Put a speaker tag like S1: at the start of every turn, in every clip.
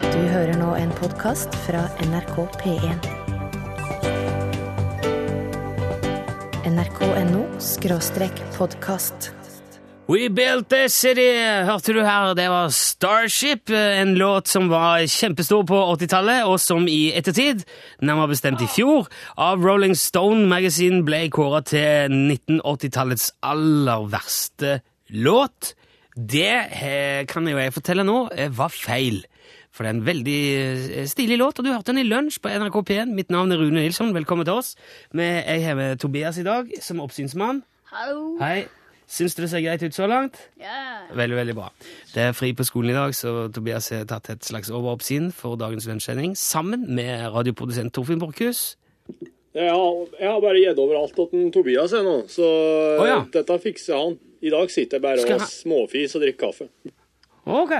S1: Du hører nå en podkast fra NRK P1. NRK.no skråstrek podkast.
S2: We built a city, hørte du her. Det var Starship, en låt som var kjempestor på 80-tallet, og som i ettertid, nærmere bestemt i fjor, av Rolling Stone Magazine ble kåra til 1980-tallets aller verste låt. Det eh, kan jo jeg fortelle nå eh, var feil. For det er en veldig eh, stilig låt, og du hørte den i lunsj på NRK P1. Mitt navn er Rune Nilsson, velkommen til oss. Men jeg har med Tobias i dag, som oppsynsmann.
S3: Hallo.
S2: Hei. Syns du det ser greit ut så langt?
S3: Ja.
S2: Veldig, veldig bra. Det er fri på skolen i dag, så Tobias har tatt et slags overoppsyn for dagens lunsjsending, sammen med radioprodusent Torfinn Borchhus.
S4: Jeg har, jeg har bare gitt over alt til Tobias jeg nå, så
S2: Å, ja.
S4: dette fikser han. I dag sitter jeg bare
S2: Skal
S4: og
S2: han-
S4: småfis og drikker kaffe.
S2: Ok,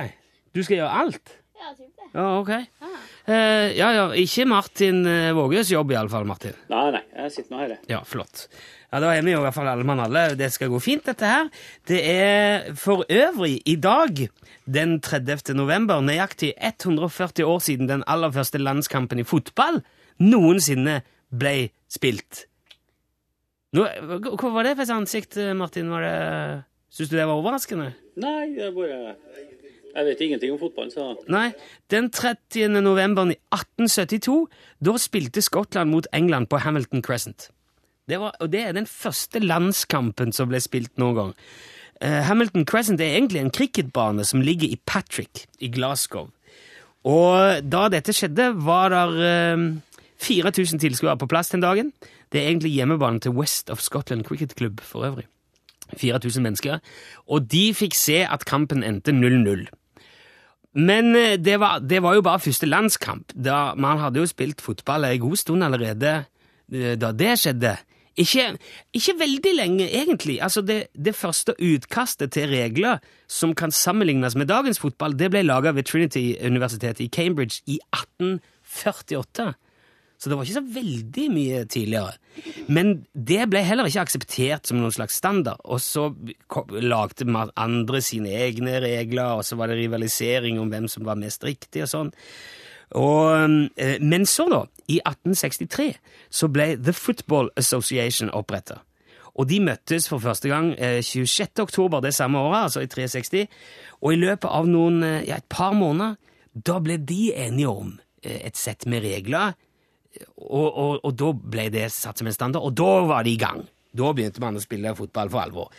S2: du skal gjøre alt?
S3: Ja, typ det.
S2: Ja, ok. Eh, ja, ja, ikke Martin eh, Våges jobb iallfall, Martin.
S4: Nei, nei, jeg sitter nå her, jeg.
S2: Ja, flott. Ja, Da er vi jo i hvert fall alle mann alle. Det skal gå fint, dette her. Det er for øvrig i dag, den 30. november, nøyaktig 140 år siden den aller første landskampen i fotball noensinne ble spilt. Nå, hva var det for et ansikt, Martin? Var det, Syns du det var overraskende?
S4: Nei, det er bare Jeg vet ingenting om fotball, så
S2: Nei, den 30. november 1872, da spilte Skottland mot England på Hamilton Crescent. Det var, og det er den første landskampen som ble spilt noen gang. Eh, Hamilton Crescent er egentlig en cricketbane som ligger i Patrick i Glasgow. Og da dette skjedde, var det 4000 tilskuere på plass den dagen. Det er egentlig hjemmebanen til West of Scotland Cricket Club for øvrig. 4000 mennesker. Og de fikk se at kampen endte 0-0. Men eh, det var, det var jo bare første landskamp. Da, man hadde jo spilt fotball en god stund allerede eh, da det skjedde. Ikke, ikke veldig lenge, egentlig. Altså det, det første utkastet til regler som kan sammenlignes med dagens fotball, det ble laga ved Trinity-universitetet i Cambridge i 1848. Så det var ikke så veldig mye tidligere. Men det ble heller ikke akseptert som noen slags standard. Og så kom- lagde ma- andre sine egne regler, og så var det rivalisering om hvem som var mest riktig og sånn. Og, eh, men så, da, i 1863, så ble The Football Association oppretta. Og de møttes for første gang eh, 26. oktober det samme året, altså i 360. Og i løpet av noen, eh, ja, et par måneder, da ble de enige om eh, et sett med regler og, og, og da ble det satt som en standard, og da var de i gang. Da begynte man å spille fotball for alvor.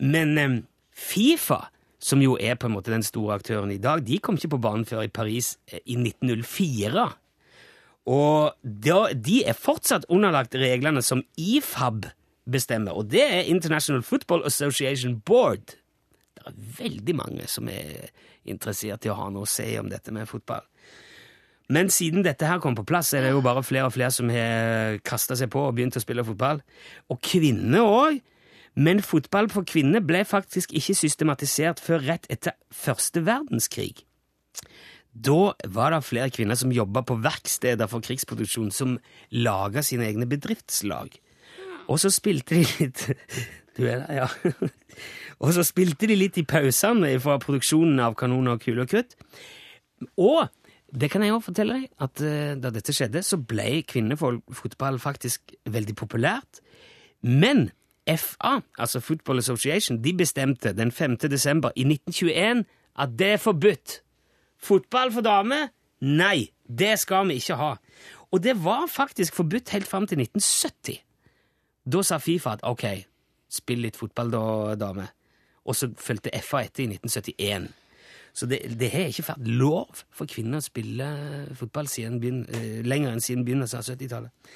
S2: Men eh, Fifa, som jo er på en måte den store aktøren i dag, de kom ikke på banen før i Paris eh, i 1904. Og da, de er fortsatt underlagt reglene som IFAB bestemmer, og det er International Football Association Board. Det er veldig mange som er interessert i å ha noe å si om dette med fotball. Men siden dette her kom på plass, er det jo bare flere og flere som har kasta seg på og begynt å spille fotball. Og kvinner òg. Men fotball for kvinner ble faktisk ikke systematisert før rett etter første verdenskrig. Da var det flere kvinner som jobba på verksteder for krigsproduksjon, som laga sine egne bedriftslag. Og så spilte de litt Du er der, ja. Og så spilte de litt i pausene fra produksjonen av kanoner og kuler og krutt. Og det kan jeg også fortelle deg, at eh, da dette skjedde, så ble kvinnefotball faktisk veldig populært. Men FA, altså Football Association, de bestemte den 5. desember i 1921 at det er forbudt. Fotball for damer? Nei, det skal vi ikke ha. Og det var faktisk forbudt helt fram til 1970. Da sa Fifa at ok, spill litt fotball da, dame. Og så fulgte FA etter i 1971. Så det, det har ikke vært lov for kvinner å spille fotball siden begyn- eh, lenger enn siden begynnelsen av 70-tallet.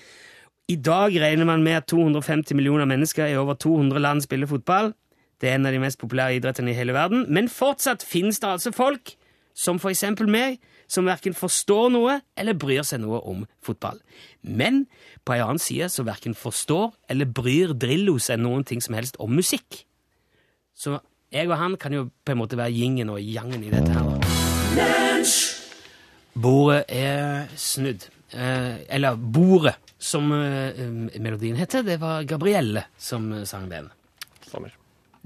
S2: I dag regner man med at 250 millioner mennesker i over 200 land spiller fotball. Det er en av de mest populære idrettene i hele verden. Men fortsatt finnes det altså folk, som for eksempel meg, som verken forstår noe eller bryr seg noe om fotball. Men på en annen side så verken forstår eller bryr Drillo seg noen ting som helst om musikk. Så jeg og han kan jo på en måte være yingen og yangen i dette her. da. Bordet er snudd. Eh, eller Bordet, som eh, melodien heter. Det var Gabrielle som eh, sang den.
S5: Stemmer.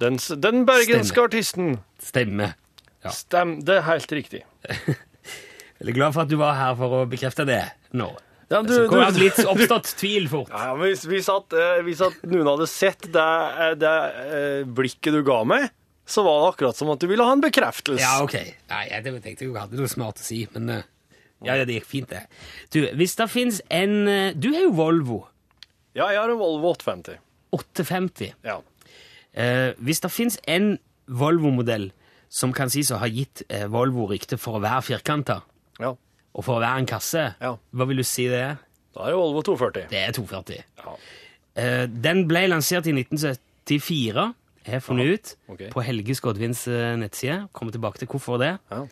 S5: Den, s- den bergenske
S2: Stemmer.
S5: artisten.
S2: Stemme. Ja.
S5: Stem, det er helt riktig.
S2: Veldig glad for at du var her for å bekrefte det nå.
S5: Ja,
S2: Så
S5: du-
S2: kan det ha
S5: du-
S2: blitt oppstått tvil fort.
S5: Ja, ja, men hvis, hvis, at, eh, hvis at noen hadde sett det, eh, det eh, blikket du ga meg, så var det akkurat som at du ville ha en bekreftelse.
S2: Ja, ok. Nei, jeg tenkte jo jeg hadde noe smart å si, men eh, ja, ja, det gikk fint, det. Du, hvis det fins en eh, Du har jo Volvo
S5: Ja, jeg har en Volvo 850.
S2: 850.
S5: Ja.
S2: Eh, hvis det fins en Volvo-modell som kan sies å ha gitt eh, Volvo rykte for å være firkanta
S5: ja.
S2: og for å være en kasse,
S5: Ja.
S2: hva vil du si det er?
S5: Da er det Volvo 240.
S2: Det er 240.
S5: Ja.
S2: Eh, den ble lansert i 1974, jeg har funnet ut,
S5: ok.
S2: på Helge Skodvins eh, nettside. Kommer tilbake til hvorfor det.
S5: Ja.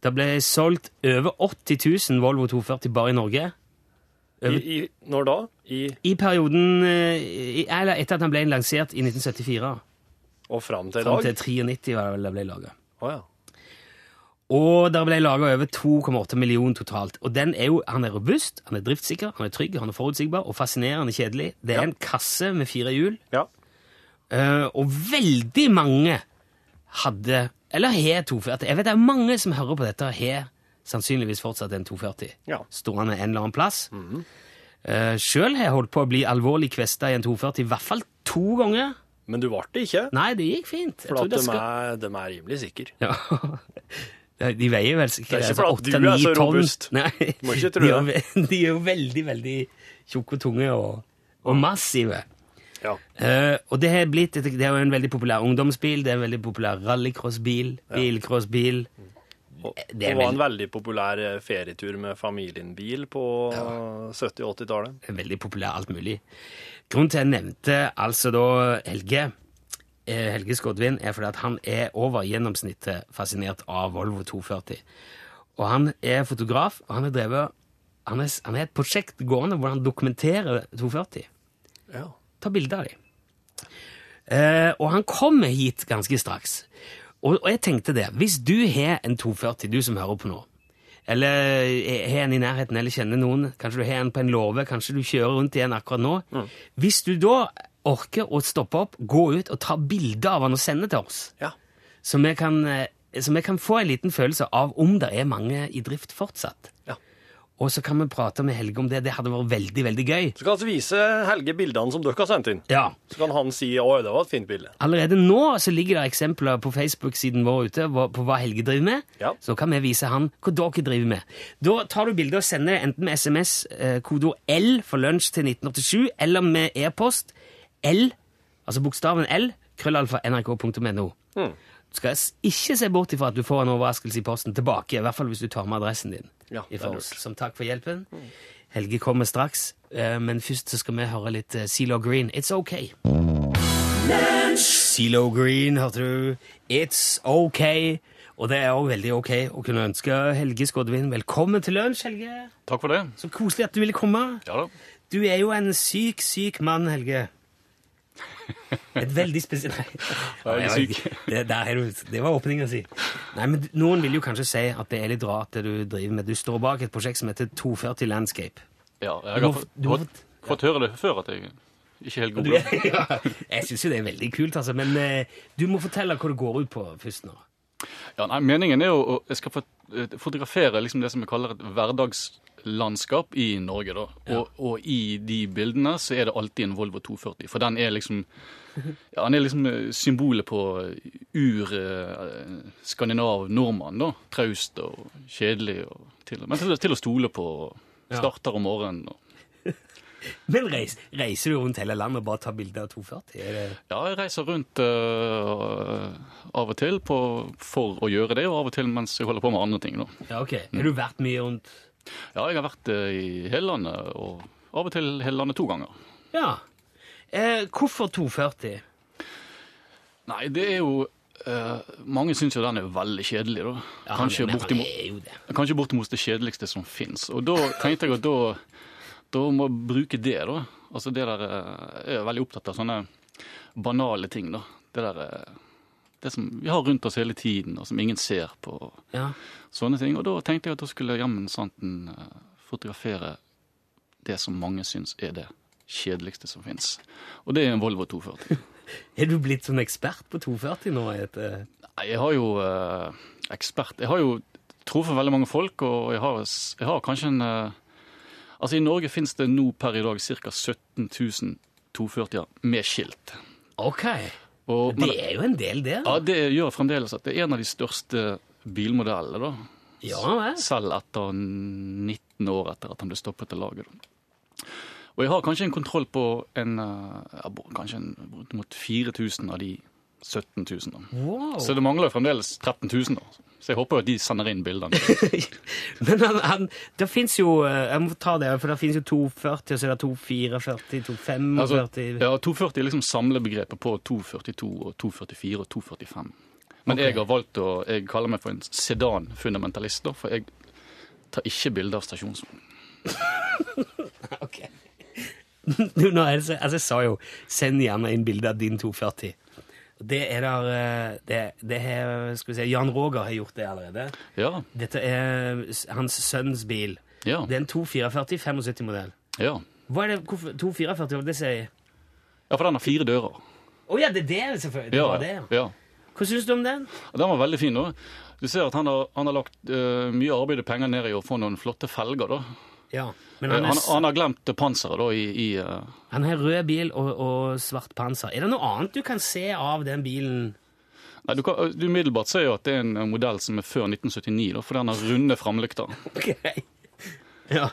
S2: Det ble solgt over 80 000 Volvo 240 bare i Norge.
S5: I, i, når da? I,
S2: I perioden eh, i, Eller etter at den ble lansert i 1974.
S5: og fram til i
S2: Fram
S5: dag?
S2: til 93 var det vel det ble laga.
S5: Å, ja.
S2: Og der ble laga over 2,8 millioner totalt. Og den er jo, han er robust, han er driftssikker, han er trygg, han er forutsigbar og fascinerende kjedelig. Det er
S5: Ja.
S2: en kasse med fire hjul.
S5: ja.
S2: Eh, og veldig mange hadde, eller har 240. Jeg vet det er mange som hører på dette, har sannsynligvis fortsatt en 240.
S5: Ja. Mhm.
S2: Stående en eller annen plass. Eh, Sjøl har jeg holdt på å bli alvorlig kvesta i en 240 i hvert fall to ganger.
S5: Men du ble det ikke,
S2: Nei, det gikk fint. Jeg
S5: for
S2: tror
S5: at de,
S2: det skal...
S5: er, de er rimelig sikre.
S2: Ja. De veier vel sikkert
S5: Det er ikke
S2: altså,
S5: fordi at
S2: åtte,
S5: du er
S2: ni
S5: så
S2: tonn.
S5: robust.
S2: Nei,
S5: Må ikke tro
S2: de, er, ve- de er jo veldig, veldig tjukke og tunge og, og massive.
S5: Ja.
S2: Eh, og det har blitt et- Det er jo en veldig populær ungdomsbil, det er en veldig populær rallycrossbil, bilcrossbil
S5: Og,
S2: Det er
S5: det var en veldig populær eh, ferietur med familien bil på 70- og 80-tallet.
S2: er Veldig populær alt mulig. Grunnen til jeg nevnte altså da Helge eh, Helge Skodvin, er fordi at han er over gjennomsnittet fascinert av Volvo 240. Og han er fotograf, og han har drevet han er, s- han er et prosjekt gående hvor han dokumenterer 240.
S5: Ja.
S2: ta bilde av dem. Eh, og han kommer hit ganske straks. Og, og jeg tenkte det, hvis du har en 240, du som hører på nå, eller har en i nærheten, eller kjenner noen, kanskje du har en på en låve, kanskje du kjører rundt i en akkurat nå, hvis du da orker å stoppe opp, gå ut og ta bilde av han og sende til oss,
S5: ja.
S2: så vi kan, eh, så vi kan få en liten følelse av om det er mange i drift fortsatt.
S5: Ja.
S2: Og så kan vi prate med Helge om det, det hadde vært veldig, veldig gøy.
S5: Så kan vi vise Helge bildene som dere har sendt inn.
S2: Ja,
S5: Så kan han si 'Å, det var et fint bilde'.
S2: Allerede nå så ligger det eksempler på Facebook-siden vår ute hva- på hva Helge driver med.
S5: Ja.
S2: Så kan vi vise han hva dere driver med. Da tar du bildet og sender det enten med SMS, eh, kodeord L for lunsj til 1987, eller med e-post L, altså bokstaven L, krøllalfa nrk.no. Du skal s- ikke se bort ifra at du får en overraskelse i posten tilbake, i hvert fall hvis du tar med adressen din.
S5: Ja, det er
S2: ifra
S5: lurt. Mm.
S2: oss, som takk for hjelpen. Helge kommer straks, eh, men først så skal vi høre litt eh, CeeLo Green. It's okay. CeeLo Green, hørte du. It's OK. Og det er også veldig OK å kunne ønske Helge Skodvin velkommen til lunsj, Helge.
S3: Takk for det.
S2: Så koselig at du ville komme.
S3: Ja da.
S2: Du er jo en syk, syk mann, Helge. Et veldig spesielt Nei.
S3: Veldig syk.
S2: Det, der er du, det var åpninga si. Nei, men Noen vil jo kanskje si at det er litt rart det du driver med. Du står bak et prosjekt som heter 240 Landscape.
S3: Ja,
S2: Du
S3: jeg har
S2: må-
S3: fått,
S2: du må-
S3: fått, fått høre det før at jeg ikke er helt god.
S2: Du, ja, jeg syns jo det er veldig kult, altså. Men eh, du må fortelle hva det går ut på først nå.
S3: Ja, nei, meningen er jo å jeg skal fot- eh, fotografere liksom det som vi kaller et hverdagslandskap i Norge. da. Og, og i de bildene så er det alltid en Volvo 240. For den er liksom ja, den er liksom eh, symbolet på eh, ur-skandinav-nordmann. da. Traust og kjedelig. Og til, men til, til å stole på. og Starter om morgenen. og
S2: Men reis, reiser du rundt hele landet og bare tar bilder av 240? Er det...
S3: Ja, jeg reiser rundt eh, av og til på, for å gjøre det, og av og til mens jeg holder på med andre ting. Da.
S2: Ja, ok. Har du vært mye rundt
S3: Ja, jeg har vært eh, i hele landet, og av og til hele landet to ganger.
S2: Ja. Eh, hvorfor 240?
S3: Nei, det er jo eh, Mange syns jo den er veldig kjedelig, da.
S2: Ja,
S3: kanskje,
S2: men- men
S3: bortimot,
S2: det er jo det.
S3: kanskje bortimot det kjedeligste som fins. Og da tenkte jeg at da, da må jeg bruke det, da. Altså det der eh, Jeg er veldig opptatt av sånne banale ting, da. Det der eh, Det som vi har rundt oss hele tiden, og som ingen ser på.
S2: Ja.
S3: sånne ting. Og da tenkte jeg at da skulle jeg jammen santen eh, fotografere det som mange syns er det kjedeligste som fins. Og det er en Volvo 240.
S2: Er du blitt sånn ekspert på 240 nå? Etter...
S3: Nei, Jeg har jo eh, ekspert Jeg har jo truffet veldig mange folk, og jeg har, jeg har kanskje en eh, Altså, i Norge finnes det nå per i dag ca. 17 000 240-er med skilt.
S2: Ok.
S3: Og, men- Ah,
S2: Det er jo en del, det.
S3: ja, det gjør fremdeles at det er en av de største bilmodellene, da.
S2: Ja, vel.
S3: Selv etter 19 år etter at han ble stoppet av laget. da. Og jeg har kanskje en kontroll på en, eh, ja, bo- kanskje en, bortimot 4000 av de 17 000. Da.
S2: Wow.
S3: Så det mangler jo fremdeles 13 000. Da. Så jeg håper jo at de sender inn bildene.
S2: Men han, han, det fins jo eh, Jeg må ta det, for det fins jo 240, og så er det 244, 245
S3: Altså, ja, 240 er liksom samlebegrepet på 242 og 244 og 245. Men jeg har valgt å Jeg kaller meg for en sedan-fundamentalist, da, for jeg tar ikke bilde av stasjonsvogn.
S2: Ok. Du, nå er det så, altså, jeg sa jo 'send gjerne inn bilde av din 240'. Det er der eh, det, det er, skal vi si, Jan Roger har gjort det allerede.
S3: Ja,
S2: Dette er s- hans sønns bil.
S3: ja,
S2: Det er en 2440 75-modell.
S3: ja.
S2: Hva er det hvorfor- 2440 hva er det sier?
S3: Ja, for den har fire dører.
S2: Å ja, det er det, selvfølgelig. Det
S3: Ja,
S2: var det, ja.
S3: ja.
S2: Hva syns du om den?
S3: Og Den var veldig fin. da. Du ser at han har, han har lagt eh, mye arbeid og penger ned i å få noen flotte felger. da.
S2: Ja, men
S3: Eh, Han,
S2: han, er,
S3: han,
S2: s-
S3: har glemt det panseret da, i, i eh,
S2: han har rød bil og, og svart panser. Er det noe annet du kan se av den bilen?
S3: Nei, du, kan, du umiddelbart ser jo at det er en eh, modell som er før 1979, da, for den har runde framlykter.
S2: Ok. Ja.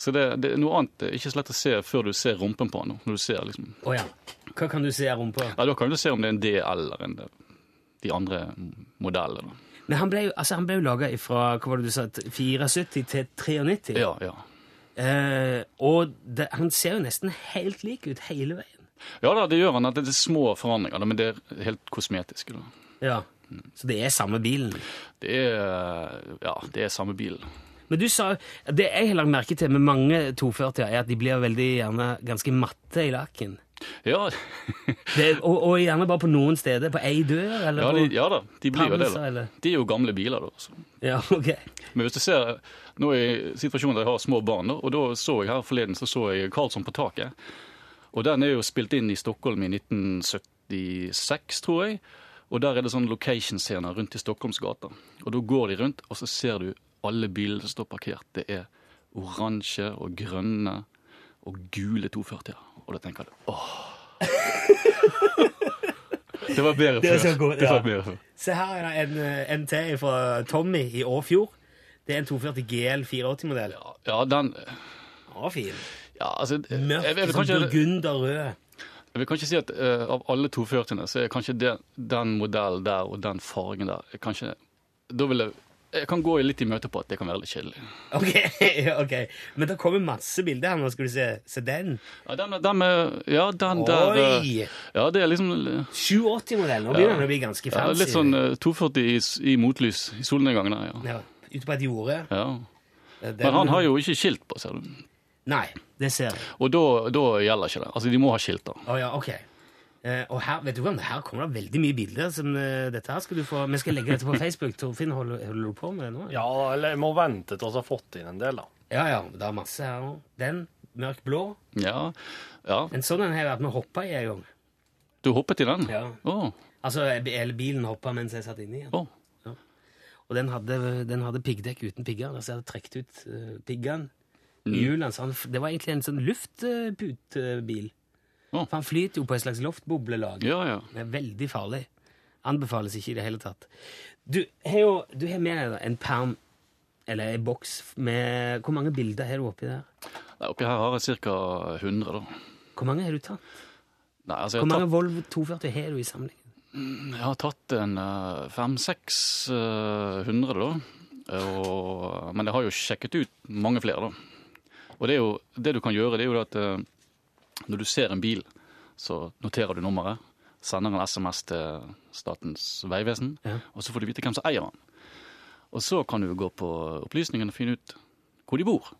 S3: Så det, det er noe annet er ikke så lett å se før du ser rumpen på den. da, Når du ser liksom...
S2: Å ja. Hva kan du se av rumpa?
S3: Nei, Da kan du se om det er en DL eller en, eh, de andre modellene.
S2: Men han ble jo, altså han ble jo laga fra hva var det du sa, 74 til 93.
S3: Ja, ja.
S2: Eh, og det, han ser jo nesten helt lik ut hele veien.
S3: ja da, det gjør han. at Det er små forandringer, da, men det er helt kosmetiske. da.
S2: Ja. Så det er samme bilen.
S3: Det er, ja, det er samme bil.
S2: Men du sa, det jeg har lagt merke til med mange 240 er at de blir veldig gjerne ganske matte i lakken.
S3: Ja,
S2: Det, og, og gjerne bare på noen steder. På ei dør, eller
S3: ja,
S2: på
S3: de, ja da, de blir jo det.
S2: Panser,
S3: da.
S2: eller?
S3: De er jo gamle biler, da. Så.
S2: Ja, ok.
S3: Men hvis du ser, nå er jeg i situasjonen der jeg har små barn, da, og da så jeg her forleden så så jeg Karlsson på taket. Og den er jo spilt inn i Stockholm i 1976, tror jeg. Og der er det sånn location-scener rundt i Stockholms gater. Og da går de rundt, og så ser du alle bilene som står parkert. Det er oransje og grønne og gule 240-er. Og da tenker du åh. Det var bedre
S2: Det var
S3: før.
S2: så godt,
S3: det
S2: ja.
S3: var bedre før.
S2: Se her er det en, eh, en til fra Tommy i Åfjord. Det er en 240 GL 480-modell.
S3: Ja, ja, den
S2: Ja, fin.
S3: ja, altså, jeg- jeg- jeg
S2: Mørk,
S3: vil
S2: sånn
S3: kanskje-
S2: burgunderrød.
S3: Jeg vil kanskje si at eh, av alle 240-ene, så er kanskje det, den modellen der og den fargen der er kanskje, Da vil jeg Jeg kan gå litt i møte på at det kan være litt kjedelig.
S2: Ok, ok. Men det kommer masse bilder her nå, skal du se. Se den.
S3: Ja, den, den med Ja, den der eh,
S2: Oi!
S3: Ja, det er liksom eh,
S2: 780-modell. Nå begynner den å bli ganske
S3: ja,
S2: fancy.
S3: Litt sånn eh, 240 i, s- i motlys i solnedgangen der, ja.
S2: Ja, Ute på et jorde.
S3: ja.
S2: Den-
S3: Men han har jo ikke skilt på, ser du.
S2: Nei, det ser jeg.
S3: Og da, da gjelder ikke det. Altså, de må ha skilt, da.
S2: Å ja, ok. Eh, og her, vet du hva, her kommer det veldig mye bilder. Som, eh, dette her skal du få. Vi skal legge dette på Facebook. Torfinn, holder, holder du på med det nå?
S5: Ja, eller jeg må vente til vi har fått inn en del, da.
S2: ja, ja, det er masse her nå. Den, mørk blå.
S3: Ja. ja.
S2: En sånn en har jeg vært med å hoppe i en gang.
S3: Du hoppet i den?
S2: Ja.
S3: Å.
S2: Altså, jeg- eller bilen hoppa mens jeg satt inni den.
S3: å.
S2: Og den hadde, den hadde piggdekk uten pigger. Altså, jeg hadde trukket ut uh, piggene. Hjulene, så han, f- det var egentlig en sånn luftputebil.
S3: Å.
S2: For han flyter jo på et slags loftboblelag.
S3: Ja, ja.
S2: Det er veldig farlig. Anbefales ikke i det hele tatt. Du har jo du har med deg en perm, eller en boks, med Hvor mange bilder har du oppi der?
S3: Nei, Oppi her har jeg ca. 100, da.
S2: Hvor mange har du tatt?
S3: Nei, altså, jeg
S2: Hvor
S3: har tatt-
S2: mange Volvo 240 har du i samlingen?
S3: Jeg har tatt en eh, fem-seks eh, hundre, da. Og, men jeg har jo sjekket ut mange flere, da. Og det, er jo, det du kan gjøre, det er jo det at eh, når du ser en bil, så noterer du nummeret. Sender en SMS til Statens vegvesen,
S2: Ja.
S3: og så får du vite hvem som eier den. Og så kan du gå på opplysningene og finne ut hvor de bor.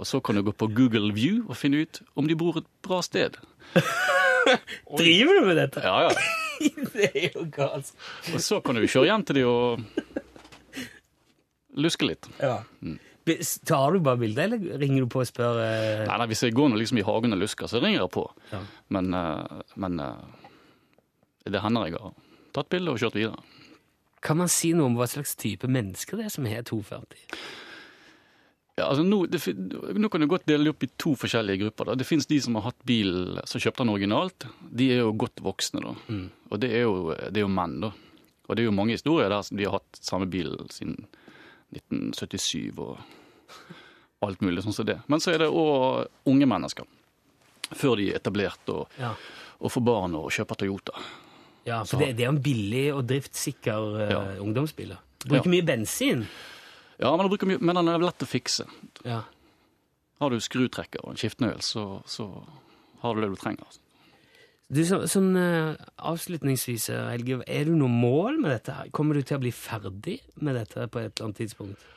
S3: Og så kan du gå på Google View og finne ut om de bor et bra sted.
S2: Driver du med dette?!
S3: Ja, ja.
S2: Det er jo galt.
S3: Og så kan du kjøre hjem til de og luske litt.
S2: Ja. Tar du bare bilder, eller ringer du på og spør eh,
S3: Nei, nei, Hvis jeg går nå liksom i hagen og lusker, så ringer jeg på.
S2: Ja.
S3: Men, eh, men eh, det hender jeg har tatt bilde og kjørt videre.
S2: Kan man si noe om hva slags type mennesker det er som har 240?
S3: Ja, altså nå, det, fin- nå kan du godt dele det opp i to forskjellige grupper. Da. Det fins de som har hatt bil som kjøpte den originalt. De er jo godt voksne, da. Og det er, jo, det er jo menn, da. Og det er jo mange historier der som de har hatt samme bil siden 1977 og alt mulig sånn som det. Men så er det òg unge mennesker. Før de er etablert og,
S2: Ja,
S3: og får barn og kjøper Toyota.
S2: for det, det er jo en billig og driftssikker uh,
S3: Ja.
S2: ungdomsbil. da. Bruker
S3: Ja.
S2: mye bensin.
S3: Ja, men, det bruker mye, men den er lett å fikse.
S2: Ja.
S3: Har du skrutrekker og en skiftenøl, så, så har du det du trenger. altså.
S2: Du, så, sånn eh, avslutningsvis, eh, Helge, er du noe mål med dette? her? Kommer du til å bli ferdig med dette på et eller annet tidspunkt?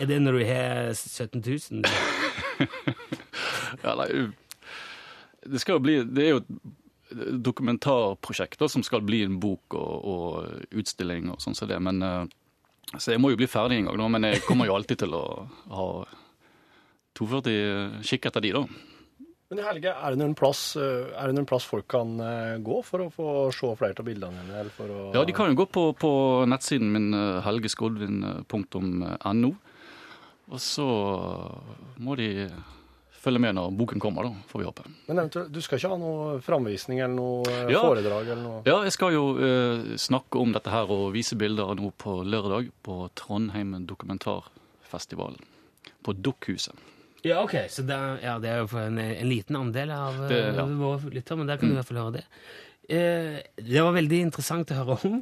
S2: Er det når du har 17 000? det?
S3: Ja, nei, eh, det, skal jo bli, det er jo et dokumentarprosjekt da, som skal bli en bok og, og utstilling og sånn som det. Men, eh, så jeg må jo bli ferdig en gang, da, men jeg kommer jo alltid til å ha 42 kikk etter de, da.
S6: Men Helge, er det noen plass, eh, er det noen plass folk kan eh, gå for å få se flere av bildene dine? Eller for å...
S3: Ja, de kan jo gå på, på nettsiden min eh, helgeskodvin.no. Og så må de følge med når boken kommer, da, får vi håpe.
S6: Men eventuelt, du skal ikke ha noe framvisning eller noe eh,
S3: Ja.
S6: foredrag eller noe?
S3: Ja, jeg skal jo eh, snakke om dette her og vise bilder nå på lørdag på Trondheim dokumentarfestival. På Dukkhuset.
S2: Ja, ok. Så det, er- ja, det er jo for en, en liten andel av eh,
S3: Det- ja. Mm.
S2: våre lyttere, men der kan du i hvert fall høre det. Eh, det var veldig interessant å høre om.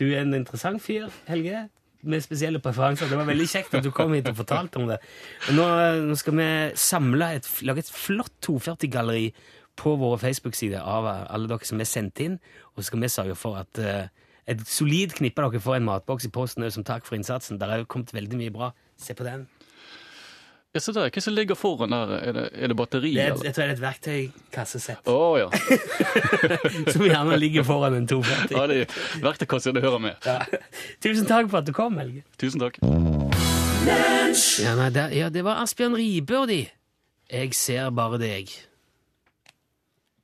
S2: Du er en interessant fyr, Helge, med spesielle preferanser. Det var veldig kjekt at du kom hit og fortalte om det. Og Nå, nå skal vi samle et, lage et flott 240-galleri på våre Facebook-sider av alle dere som er sendt inn, og så skal vi sørge for at eh, et solid knippe av dere får en matboks i posten også som takk for innsatsen. Der er jo kommet veldig mye bra. Se på den.
S3: Ja, se der, hva som ligger foran der? Er det, er det batteri,
S2: Det er,
S3: eller?
S2: jeg tror det er et verktøykassesett.
S3: Å ja.
S2: Som gjerne ligger foran en 240.
S3: ja det er verktøykasser, det hører med.
S2: Ja. Tusen takk for at du kom, Helge.
S3: Tusen takk.
S2: Ja, nei, det, ja, det var Asbjørn Ribe og de. Jeg ser bare deg.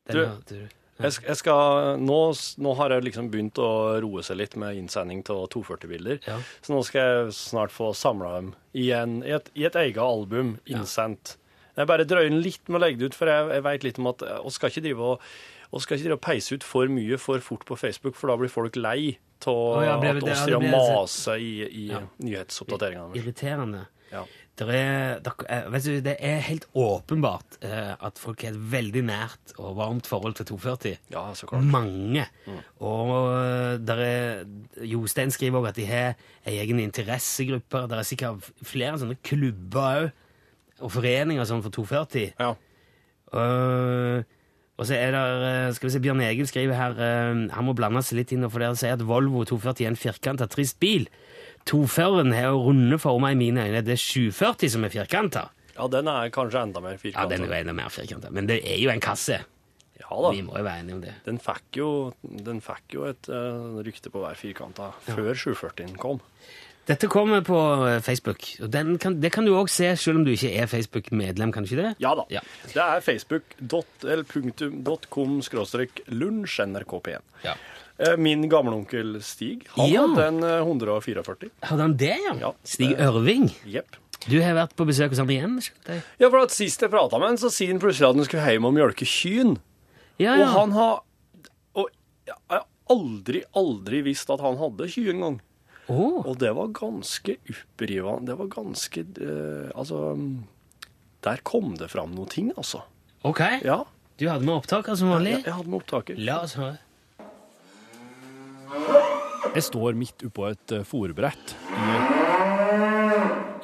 S2: Den
S6: Du-
S2: hørte du.
S6: Jeg, sk- jeg skal, nå, s- nå har jeg liksom begynt å roe seg litt med innsending av 240-bilder.
S2: Ja.
S6: Så nå skal jeg snart få samla dem i, en, i, et, i et eget album, innsendt. Jeg bare drøyer den litt med å legge det ut, for jeg, jeg veit litt om at eh, Vi skal ikke drive og og skal ikke drive og peise ut for mye for fort på Facebook, for da blir folk lei av
S2: ja, ble-
S6: at
S2: det- ja, det
S6: oss driver og
S2: blir-
S6: maser i, i
S2: Ja.
S6: nyhetsoppdateringene.
S2: Irriterende.
S6: Ja.
S2: Der er, der, eh, vet du, det er helt åpenbart eh, at folk har et veldig nært og varmt forhold til 240.
S6: ja, så klart.
S2: Mange. Og eh, der er, Jostein skriver også at de har en egen interessegrupper. Der er sikkert flere sånne klubber òg. Og foreninger sånn for 240.
S6: Ja.
S2: Eh, og så er der, eh, skal vi se, Bjørn Egil skriver her eh, Han må blande seg litt inn, for dere sier at Volvo 240 er en firkanta, trist bil. 240-en har jo runde former i mine øyne. Det er 740 som er firkanta.
S6: ja, den er kanskje enda mer
S2: Ja, den er
S6: firkanta.
S2: jo enda mer firkanta, men det er jo en kasse.
S6: Ja da.
S2: Vi må jo være enige om det.
S6: Den fikk jo, den fikk jo et eh, rykte på hver firkanta før 740-en kom.
S2: Dette kommer på eh, Facebook, og den kan, det kan du òg se selv om du ikke er Facebook-medlem, kan du ikke det?
S6: Ja da.
S2: Ja.
S6: Det er facebook.com skråstrek lunsj nrkp1.
S2: Ja.
S6: Eh, Min gamleonkel Stig, han
S2: Ja.
S6: hadde en eh, 144.
S2: Hadde han det, ja?
S6: Ja.
S2: Stig Ørving,
S6: Jepp.
S2: du har vært på besøk hos ham igjen? skjønte jeg.
S6: Ja, for at sist jeg prata med han, så sier han plutselig at han skulle hjem og mjølke kyn.
S2: Ja,
S6: Og
S2: ja.
S6: han har Og jeg har aldri, aldri visst at han hadde ky en gang.
S2: Å.
S6: Og det var ganske opprivende. Det var ganske eh, Altså Der kom det fram noen ting, altså.
S2: ok.
S6: Ja.
S2: Du hadde med opptaker som vanlig?
S6: Jeg, jeg hadde med opptaker.
S2: La oss høre.
S7: Jeg står midt oppå et eh, fôrbrett i,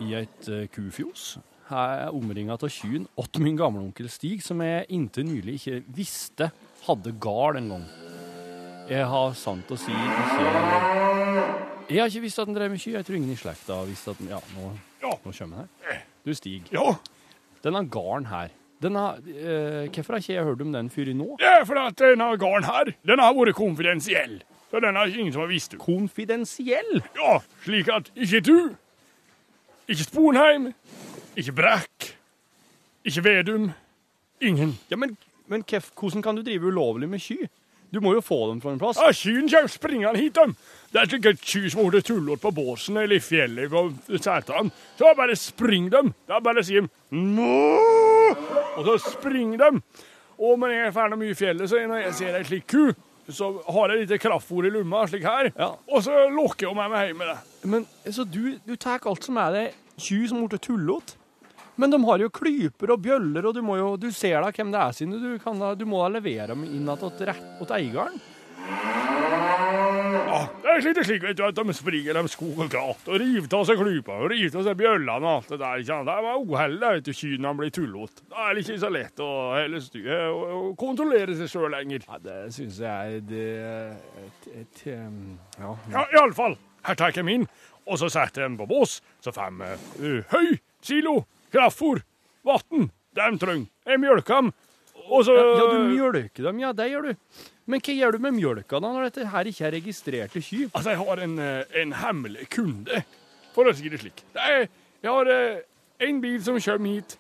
S7: i et eh, kufjos. Her er omringa av kyrne åt min gamleonkel Stig, som jeg inntil nylig ikke visste hadde gard en gang. Jeg har sant å si ikke Jeg har ikke visst at han drev med kyr. Jeg tror ingen i slekta har visst at han Ja, nå, nå kommer han her. Du, Stig.
S8: Ja,
S7: Denne garden her den har, eh, Hvorfor har ikke jeg hørt om den før i nå?
S8: det er fordi at denne garden her, den har vært konfidensiell. Så den har ingen som har visst om.
S7: Konfidensiell!
S8: Ja, slik at ikke du, ikke Sponheim, ikke Brekk, ikke Vedum, ingen.
S7: Ja, men, men kef, hvordan kan du drive ulovlig med ky?
S9: Du må jo få dem fra en plass.
S6: Ja, kyen kommer springende hit, dem. Det er sikkert ky som holder tullåt på båsen eller i fjellet på setan. Så bare spring dem. Da bare sier de «Nå!» Og så spring dem. Og når jeg er ferdig mye i fjellet, så når jeg ser ei slik ku, så har jeg litt kraftfôr i lomma, slik her,
S9: Ja.
S6: og så lokker hun meg med hjem med det.
S9: Men altså, du, du tar alt som er det ky som blir tullete. Men de har jo klyper og bjøller, og du, må jo, du ser da hvem det er sine. Du, kan da, du må da levere dem inn at åt rett- åt eieren.
S6: Ja, det er litt slik vet du, at de springer dem skog og grat og river av seg klypa og river av seg bjøllene og alt det der. ikke sant? Det var uhellet, vet du, kyrne blir tullått. Da er det ikke så lett å, hele styr, å, å kontrollere seg sjøl lenger.
S9: Ja, det syns jeg det, et, et, um, ja.
S6: Ja, iallfall. Her tar jeg min, og så setter jeg den på bås. Så får de eh, høy kilo kraftfôr, vann, de trenger. Jeg mjølker dem, og så
S9: ja, ja, du mjølker dem. Ja, det gjør du. Men hva gjør du med mjølka da, når dette her ikke er registrerte ky?
S6: Altså, jeg har en, eh, en hemmelig kunde, for å si det slik. Det er, jeg har eh, en bil som kommer hit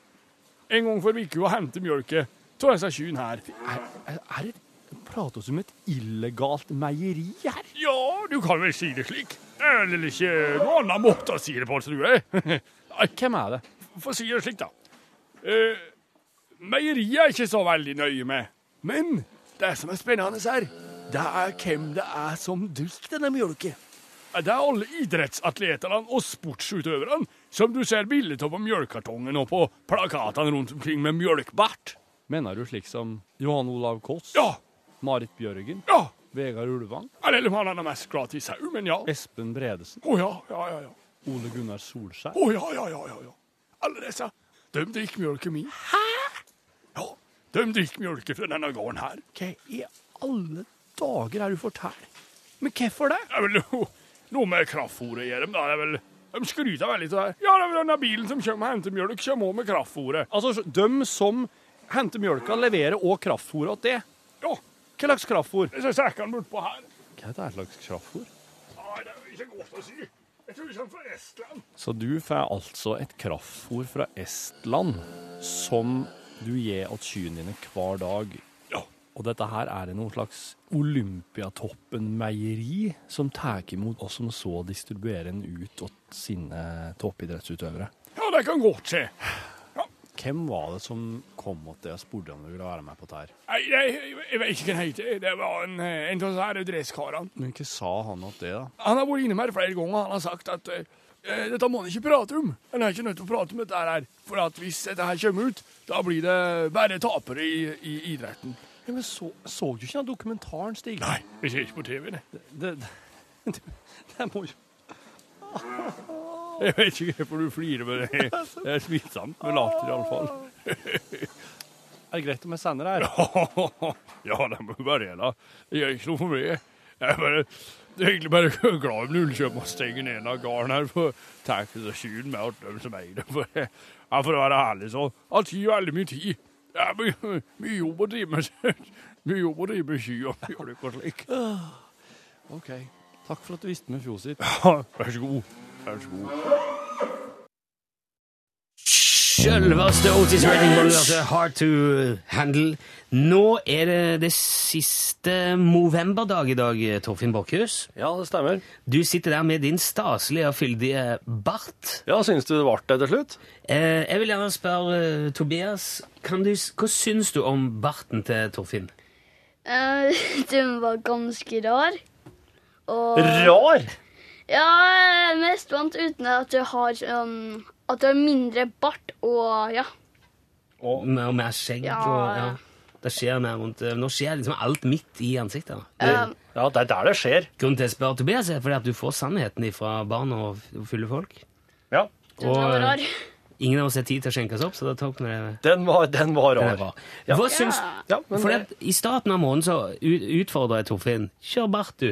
S6: en gang for uka og henter mjølke av disse kyene her.
S9: Er, er, er det Prater vi om et illegalt meieri her?
S6: Ja, du kan vel si det slik. Det er vel ikke noen annen måte å si det på, tror jeg. Nei,
S9: Hvem er det?
S6: Få si det slik, da. Eh, meieriet er ikke så veldig nøye med. Men det som er spennende her, det er hvem det er som drikker denne mjølken. Det er alle idrettsatletene og sportsutøverne som du ser bilde av på mjølkartongen og på plakatene rundt omkring med mjølkbart.
S9: Mener du slik som Johan Olav Koss?
S6: Ja,
S9: Marit Bjørgen?
S6: ja.
S9: Vegard Ulvang?
S6: Eller han er mest glad i sau, men ja. Å
S9: Espen Bredesen?
S6: ja, ja, ja. ja.
S9: Ole Gunnar Solskjær?
S6: Å ja, ja, ja, ja, ja. Alle disse, de drikker mjølke mi. Hæ? Ja, de drikker mjølke fra denne gården her.
S9: Hva i alle dager er du fortalt? Men hvorfor det?
S6: Det er vel noe, noe med kraftfôret å gjøre, men da er det vel... De skryter veldig til det her. Ja, det er vel denne bilen som kommer og henter mjølk, kommer også med kraftfôret.
S9: Altså, dem som henter mjølka, leverer også kraftfôr åt det.
S6: Ja,
S9: Hva slags kraftfôr?
S6: disse sekkene bortpå her.
S9: Hva er det slags kraftfôr?
S6: Nei, det er jo ikke godt å si. Jeg tror de kommer fra Estland.
S9: Så du får altså et kraftfôr fra Estland som du gir åt kyene dine hver dag.
S6: Ja.
S9: Og dette her er det noe slags Olympiatoppen-meieri som tar imot og som så distribuerer den ut åt sine toppidrettsutøvere.
S6: Ja, det kan godt skje.
S9: Hvem var det som kom åt det og spurte om du ville være med på dette? her?
S6: Nei, jeg, jeg vet ikke hva han heter. Det var en, en av disse her dresskarene.
S9: Men hva sa han åt det, da?
S6: Han har vært innom her flere ganger. Han har sagt at eh, eh, dette må han ikke prate om. Han er ikke nødt til å prate om dette her. For at hvis dette her kommer ut, da blir det bare tapere i, i idretten.
S9: Ja, men så, så du ikke den dokumentaren, Stig?
S6: Nei, vi ser ikke på TV. nei.
S9: Det, det, det, det må jo
S6: Jeg vet ikke hvorfor du flirer med det. Det er smittsomt med latter, iallfall.
S9: Er det greit om jeg sender her?
S6: Ja, det må vi bare gjøre. Det gjør ikke noe for meg. Jeg er bare jeg er egentlig bare glad om Ullkjøp må stenge ned en av gården her, for tar ikke så skyen med alt dem som eier det. For, jeg- ja, for å være ærlig, så han tar jo veldig mye tid. Det er mye, mye jobb å drive med Mye jobb å drive med sky og mjølk og slik.
S9: OK. Takk for at du visste med fjoset ditt.
S6: Vær så god. Vær så god.
S2: Sjølveste Otis Redding var du altså hard to handle. Nå er det det siste Movember-dag i dag, Torfinn Borkhus.
S10: Ja, det stemmer.
S2: Du sitter der med din staselige og fyldige bart.
S10: Ja, syns du det ble det til slutt?
S2: Eh, jeg vil gjerne spørre eh, Tobias, kan du, s- hva syns du om barten til Torfinn?
S11: Eh, Den var ganske rar. Og
S10: Rar!
S11: ja, jeg er mest vant uten at du har um, At du har mindre bart og ja.
S2: Mer og mer skjegg
S11: Ja,
S2: og ja.
S11: ja.
S2: Det skjer mer rundt eh, Nå skjer liksom alt midt i ansiktet. da.
S11: eh,
S10: Ja, det er der det skjer.
S2: Grunnen til at jeg spør Tobias, er fordi at du får sannheten fra barn og f- fulle folk.
S10: Ja.
S11: den
S2: Og,
S11: var
S2: eh,
S11: rar.
S2: Ingen av oss har tid til å skjenke oss opp, så da tok vi det
S10: Den var, den var
S2: det
S10: rar.
S2: var. Hva syns
S10: Ja, men
S2: Fordi
S10: det,
S2: at I starten av måneden så u- utfordrer jeg Torfinn. Kjør bart, du.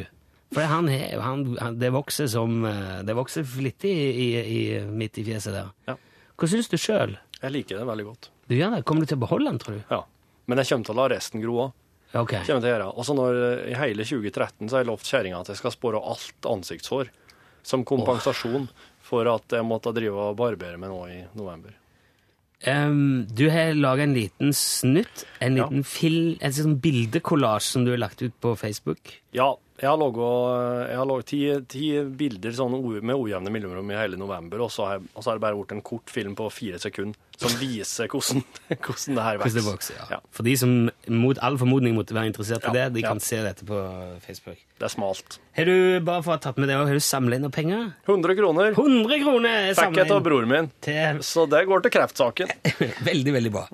S2: For han, he- han, han, det vokser som eh, Det vokser flittig i, i, midt i fjeset der.
S10: Ja.
S2: Hva syns du sjøl?
S10: jeg liker den veldig godt.
S2: Du gjør det. Kommer du til å beholde den, tror du?
S10: Ja. Men jeg kommer til å la resten gro òg.
S2: Ja, Ok.
S10: kommer jeg til å gjøre. Og så når eh, i hele 2013 så har jeg lovt kjerringa at jeg skal spore alt ansiktshår som kompensasjon for at jeg måtte drive og barbere meg nå i november.
S2: Ehm, du har laga en liten snutt, en
S6: Ja.
S2: liten fil, en sånn bildekollasj som du har lagt ut på Facebook.
S6: Ja, jeg har laget- jeg har laget ti, ti bilder sånn o- med ojevne mellomrom i hele november, og så har, jeg, og så har det bare vært en kort film på fire sekunder som viser hvordan, hvordan det her
S2: Hvordan det vokser,
S6: vokser.
S2: ja.
S6: Ja.
S2: For de som mot all formodning måtte være interessert i
S6: Ja,
S2: det, de
S6: ja.
S2: kan se dette på Facebook.
S6: Det er smalt.
S2: Har du bare for å ha tatt med det, også, har du samla inn noen penger?
S6: 100 kroner
S2: 100 kroner er
S6: fikk jeg
S2: samlet
S6: av
S2: inn
S6: broren min,
S2: til
S6: så det går til kreftsaken.
S2: Veldig, veldig bra.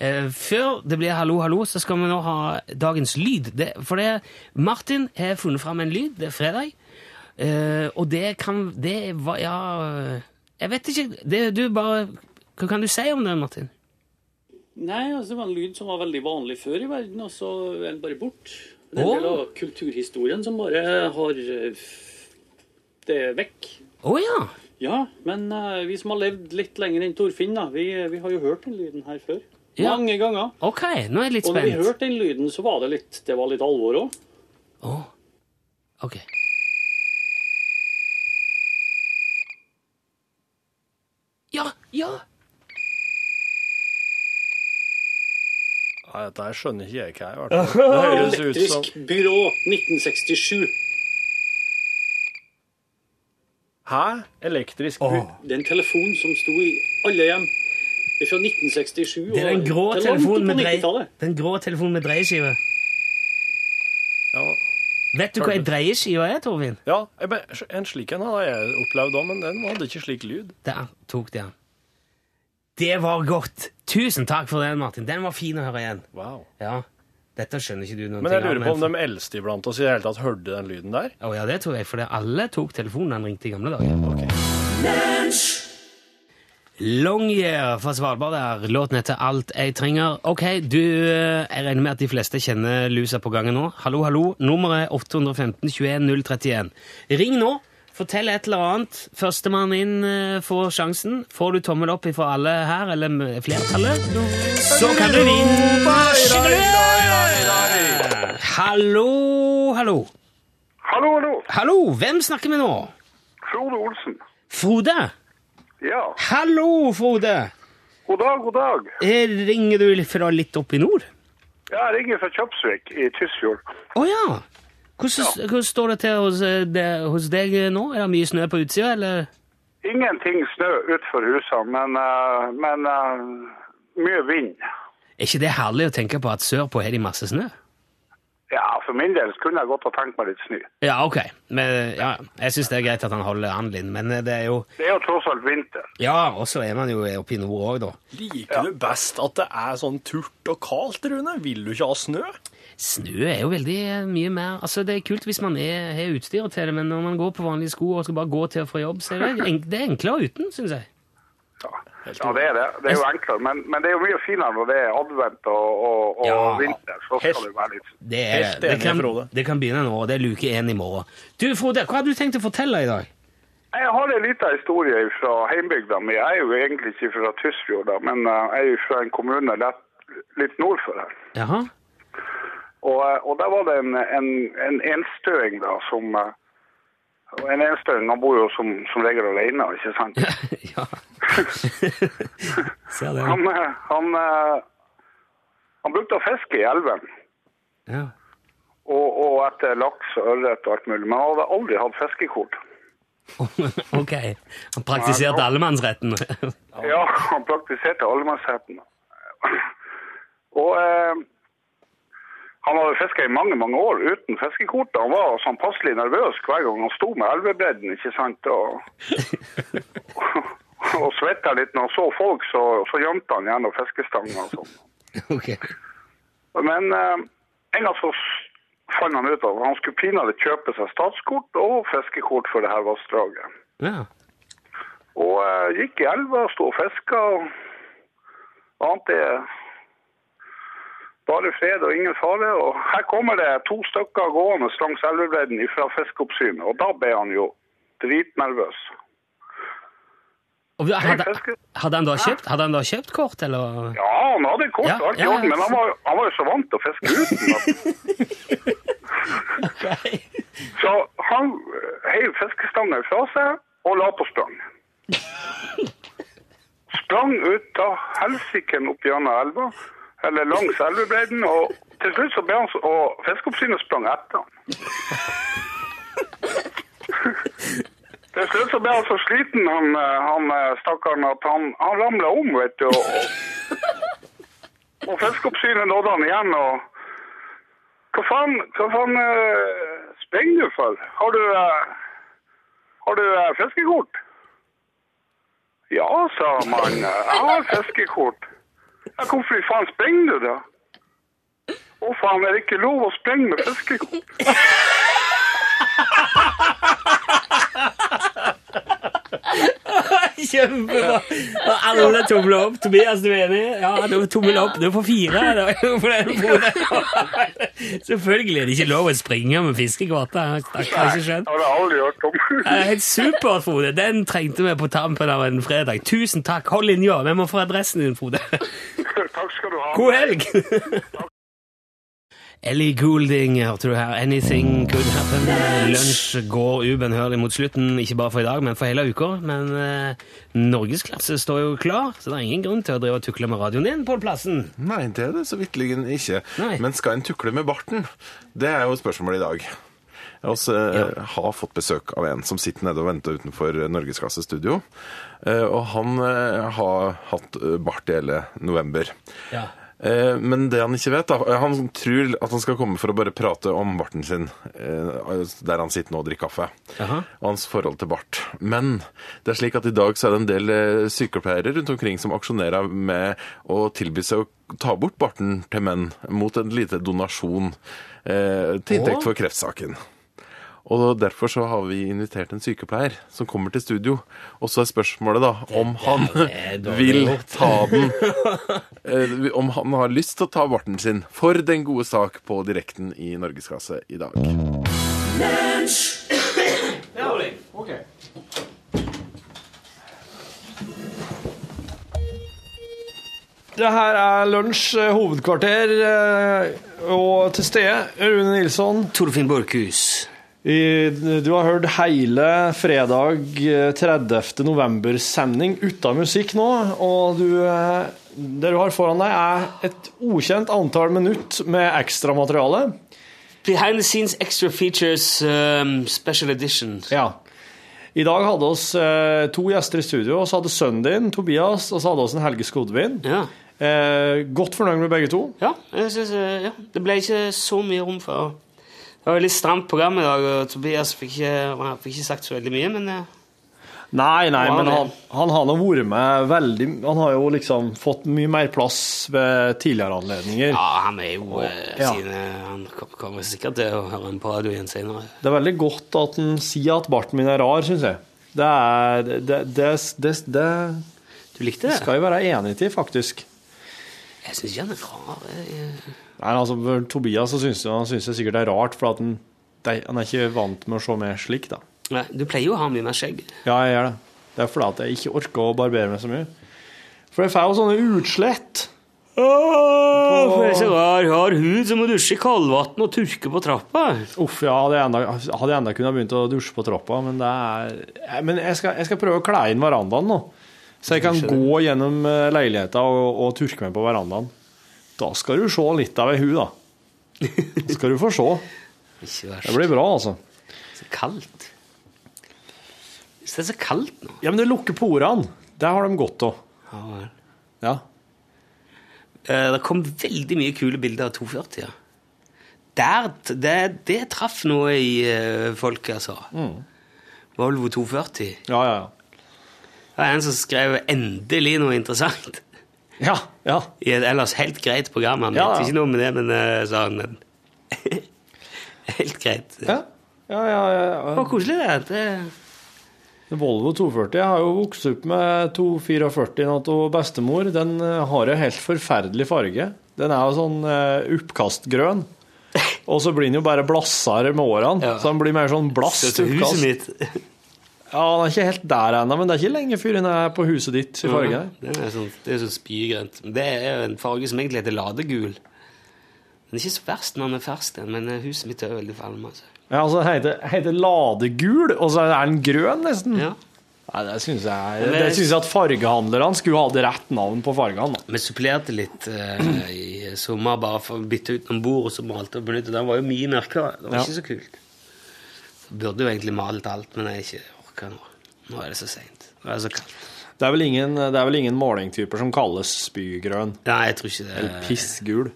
S2: Eh, før det blir hallo, hallo, så skal vi nå ha dagens lyd. Det, for det, Martin har funnet fram en lyd. Det er fredag. Eh, og det kan Det var Ja Jeg vet ikke. Det, du bare Hva kan du si om det, Martin?
S7: Nei, altså, det var en lyd som var veldig vanlig før i verden, og så er den bare bort. Det er
S2: Åh.
S7: en del av kulturhistorien som bare har eh, f- Det er vekk.
S2: Å ja!
S7: Ja, men eh, vi som har levd litt lenger enn Torfinn, da, vi, eh, vi har jo hørt den lyden her før.
S2: Ja.
S7: Mange ganger.
S2: Ok, nå er jeg litt
S7: Og når vi
S2: spent.
S7: hørte den lyden, så var det litt, det var litt alvor òg.
S2: Åh, Ok. Ja, ja!
S6: Nei, dette her skjønner ikke jeg hva er. i hvert fall. Det høres ut som
S7: Elektrisk byrå 1967.
S6: Hæ? Elektrisk bu...
S7: Det er en telefon som sto i alle hjem fra 1967.
S2: Det er den
S7: og-
S2: grå
S7: til langt
S2: telefonen
S7: opp på
S2: med, drei,
S7: 90-tallet.
S2: den grå telefonen med dreieskive.
S6: Ja,
S2: Vet du hva ei dreieskive er, Torvin?
S6: ja jeg be- en slik en hadde jeg opplevd òg, men den hadde ikke slik lyd.
S2: Der tok de den. Det var godt! Tusen takk for den, Martin. Den var fin å høre igjen.
S6: Wow.
S2: Ja, Dette skjønner ikke du noen
S6: Men jeg
S2: ting
S6: lurer på om de eldste iblant oss i det hele tatt hørte den lyden der.
S2: Å ja, det tror jeg, for det alle tok telefonen da han ringte i gamle dager. Longyear fra Svalbard der. Låten heter Alt jeg trenger. Ok, du, eh, jeg regner med at de fleste kjenner lusa på gangen nå. Hallo, hallo. Nummeret er 815 21 031. Ring nå. Fortell et eller annet. Førstemann inn eh, får sjansen. Får du tommel opp ifra alle her, eller m- flertallet, så kan du vinne Skikkelig! Hallo, hallo.
S12: Hallo, hallo.
S2: Hallo, hvem snakker vi nå?
S12: Frode Olsen.
S2: Frode?
S12: Ja.
S2: Hallo, Frode!
S12: God dag, god dag.
S2: Eh, Ringer du litt fra litt opp i nord?
S12: Jeg ringer fra Kjøpsvik i Tysfjord.
S2: Å ja! Hvordan, hvordan står det til hos, eh, det- hos deg eh, nå? Er det mye snø på utsida, eller?
S12: Ingenting snø utenfor husene, men, eh, men eh, mye vind.
S2: Er ikke det herlig å tenke på at sørpå har de masse snø?
S12: Ja, for min del så kunne jeg godt ha tenkt meg litt snø.
S2: Ja, ok. Men, ja, jeg syns det er greit at han holder an, Linn, men eh, det er jo
S12: Det er jo tross alt vinter.
S2: Ja, og så er man jo oppe i nord òg, da.
S6: Liker du best at det er sånn turt og kaldt, Rune? Vil du ikke ha snø?
S2: Snø er jo veldig eh, mye mer Altså, det er kult hvis man er, har utstyret til det, men når man går på vanlige sko og skal bare gå til og fra jobb, så er det, en- det er enklere uten, syns jeg.
S12: Ja, ja det er det. Det er jo enklere, men, men det er jo mye finere når det er advent og, og, og
S2: Ja,
S12: vinter. Så
S6: helt-
S12: skal det være litt
S2: Det, er,
S6: Helt
S2: det,
S6: enig,
S2: kan,
S6: Frode.
S2: det kan begynne nå, og det er luke én i morgen. Du, Frode, hva hadde du tenkt å fortelle i dag?
S12: Jeg har en liten historie fra heimbygda mi. Jeg er jo egentlig ikke fra Tysfjord, da, men eh, jeg er jo fra en kommune lett, litt nord for her.
S2: Jaha?
S12: Og, eh, og der var det en, en, en enstøing da, som eh, og En enstøing han bor jo som, som regel alene, ikke sant?
S2: ja. Ser det.
S12: Han, eh, han, eh, han brukte å fiske i elven,
S2: Ja.
S12: og, og etter laks og ørret og alt mulig, men han hadde aldri hatt fiskekort.
S2: ok. Han praktiserte allemannsretten.
S12: Ja, han praktiserte allemannsretten. Og eh, han hadde fiska i mange mange år uten fiskekort. Han var sånn passelig nervøs hver gang han sto med elvebredden, ikke sant. Og, og svetta litt når han så folk, så, så gjemte han gjennom fiskestanga og sånn.
S2: ok.
S12: Men eh, en gang så s- fant han ut at han skulle pinadø kjøpe seg statskort og fiskekort for det her vassdraget.
S2: Ja.
S12: Og eh, gikk i elva, sto og fiska og ante bare fred og ingen fare. Og her kommer det to stykker gående langs elvebredden fra fiskeoppsynet, og da ble han jo dritnervøs.
S2: Og vi- hadde,
S12: fisker.
S2: hadde, han da kjøpt, hadde han da kjøpt kort, eller?
S12: Ja, han hadde kort
S2: Ja,
S12: og alt i
S2: ja, ja.
S12: orden, men han var, han var jo så vant til å fiske uten. at- så han heiv fiskestanga fra seg og la på stang. sprang ut av helsiken opp gjennom elva, eller langs elvebredden, og til slutt så ble han så, og Fiskeoppsynet sprang etter han. Til slutt så ble han så sliten, han, eh, han eh, stakkaren, at han, han ramla om, vet du. Og, og Fiskeoppsynet nådde han igjen, og Hva faen, hva faen eh, springer du for? Har du, eh, har du eh, fiskekort? Ja, sa mannen. Jeg har fiskekort. Ja, hvorfor i faen springer du, da? Å, faen, er det ikke lov å springe med fiskekort?
S2: Kjempebra! Og alle tomler opp. Tobias, du er enig? Ja, du tommel opp. Du får fire. da. For det- for det. Selvfølgelig er det ikke lov å springe med fiskekort. da. Stakkars, ikke skjønt.
S12: Det har jeg aldri hørt om.
S2: Det er Helt supert, Frode. Den trengte vi på tampen av en fredag. Tusen takk. Hold linja. Vi må få adressen din, Frode.
S12: Takk skal du ha.
S2: God helg! Ellie Goulding hørte du her. 'Anything Could Happen'. Lunsj går ubønnhørlig mot slutten, ikke bare for i dag, men for hele uka. Men eh, norgesklasse står jo klar, så det er ingen grunn til å drive og tukle med radioen din, Pål Plassen.
S13: Nei, det er det så vitterlig ikke.
S2: Nei.
S13: Men skal en tukle med barten? Det er jo spørsmålet i dag. Jeg har også, eh, har fått besøk av en som sitter nede og venter utenfor eh, Norgesklasse studio. Eh, og han eh, har hatt eh, bart i hele november.
S2: Ja.
S13: Eh, men det han ikke vet, da eh, Han tror at han skal komme for å bare prate om barten sin eh, der han sitter nå og drikker kaffe.
S2: Jaha.
S13: Og hans forhold til bart. Men det er slik at i dag så er det en del eh, sykepleiere rundt omkring som aksjonerer med å tilby seg å ta bort barten til menn mot en lite donasjon eh, til inntekt for kreftsaken. Og derfor så har vi invitert en sykepleier som kommer til studio. Og så er spørsmålet da om han
S2: er dårlig
S13: vil
S2: gjort.
S13: ta den eh, Om han har lyst til å ta barten sin for den gode sak på direkten i Norgeskasse i dag.
S6: Det her er lunsj, eh, hovedkvarter, eh, og til stede Rune Nilsson.
S2: Torfinn Borchhus.
S6: I, du har hørt hele fredag eh, 30. november-sending uten musikk nå, og du, eh, det du har foran deg er et ukjent antall minutt med ekstramateriale.
S2: Behind the scenes extra features um, special edition.
S6: Ja. I dag hadde oss eh, to gjester i studio, og så hadde sønnen din, Tobias, og så hadde oss en Helge Skodvin.
S2: Ja.
S6: Eh, godt fornøyd med begge to.
S2: Ja, jeg synes, eh, ja. Det ble ikke så mye rom for Det var et litt stramt program i dag, og Tobias fikk ikke, han fikk ikke sagt så veldig mye, men eh,
S6: Nei, nei,
S2: Og han
S6: men
S2: er-
S6: han, han har nå vært med veldig Han har jo liksom fått mye mer plass ved tidligere anledninger.
S2: ja, han er jo eh,
S6: Ja.
S2: sine, Han kom- kommer sikkert til å høre en på radio igjen senere.
S6: Det er veldig godt at han sier at barten min er rar, syns jeg. Det er det, det, det, det, det
S2: Du likte det?
S6: skal jeg være enig til, faktisk.
S2: Jeg syns ikke han er rar. jeg- eh.
S6: Nei, altså, for Tobias så syns jeg, han synes det sikkert det er rart, for at han, de, han er ikke vant med å se meg slik, da.
S2: Nei, du pleier jo å ha mye mer skjegg.
S6: Ja, jeg gjør det. Det er fordi at jeg ikke orker å barbere meg så mye. For jeg får jo sånne utslett.
S2: Åh, for jeg er så rar, rar hud, så må du dusje i kaldvann og tørke på trappa.
S6: Uff, ja, hadde jeg enda, hadde jeg enda kunnet begynt å dusje på trappa, men det er jeg- Men jeg skal, jeg skal prøve å kle inn verandaen nå. Så jeg kan gå gjennom eh, leiligheta og, og turke meg på verandaen. Da skal du se litt av ei hu, da. Da skal du få se.
S2: Ikke vær
S6: Det
S2: så
S6: blir bra, altså.
S2: så kaldt. Hvis det er så kaldt nå
S6: Ja, men det lukker porene. Det har de godt av.
S2: ja, vel.
S6: Ja.
S2: Eh, Det kom veldig mye kule bilder av 240. Ja. Der, t- det, det traff noe i eh, folket, altså. Volvo 240.
S6: Ja, ja,
S2: Det var en som skrev 'endelig noe interessant'
S6: ja. Ja, ja.
S2: i et ellers helt greit program. Han
S6: Ja,
S2: mente
S6: ja.
S2: ikke noe med det, men eh, sa han. Men helt greit. Det
S6: ja. Ja, ja, ja, ja.
S2: var koselig, det. det
S6: Volvo 240. Jeg har jo vokst opp med 244 natt og bestemor. Den eh, har en helt forferdelig farge. Den er jo sånn eh, oppkastgrønn. Og så blir den jo bare blassere med årene.
S2: Ja.
S6: Så den blir mer sånn
S2: Så
S6: blast
S2: til huset
S6: oppkast.
S2: mitt.
S6: Ja, den er ikke helt der ennå, men det er ikke lenge før den er på huset ditt i farge. der.
S2: Det er sånn, det er sånn spygrønt. Det er jo en farge som egentlig heter ladegul. Den er ikke så verst når den er fersk, den, men eh, huset mitt er jo veldig falmet. Altså.
S6: Ja, altså, den heter, heter ladegul, og så er den grønn nesten.
S2: Ja.
S6: Ja, Nei, det syns jeg
S2: Men-
S6: Det synes jeg at fargehandlerne skulle hatt rett navn på fargene. da.
S2: Vi supplerte litt eh, i sommer bare for å bytte ut noen bord, og så malte og benyttet. Den var jo mye mørkere. Det var
S6: Ja.
S2: ikke så kult. Burde jo egentlig malt alt, men jeg ikke orker nå. Nå er det så seint. Nå er det så kaldt.
S6: Det er vel ingen, det er vel ingen målingtyper som kalles spygrønn?
S2: Nei, jeg tror ikke det.
S6: Eller pissgul?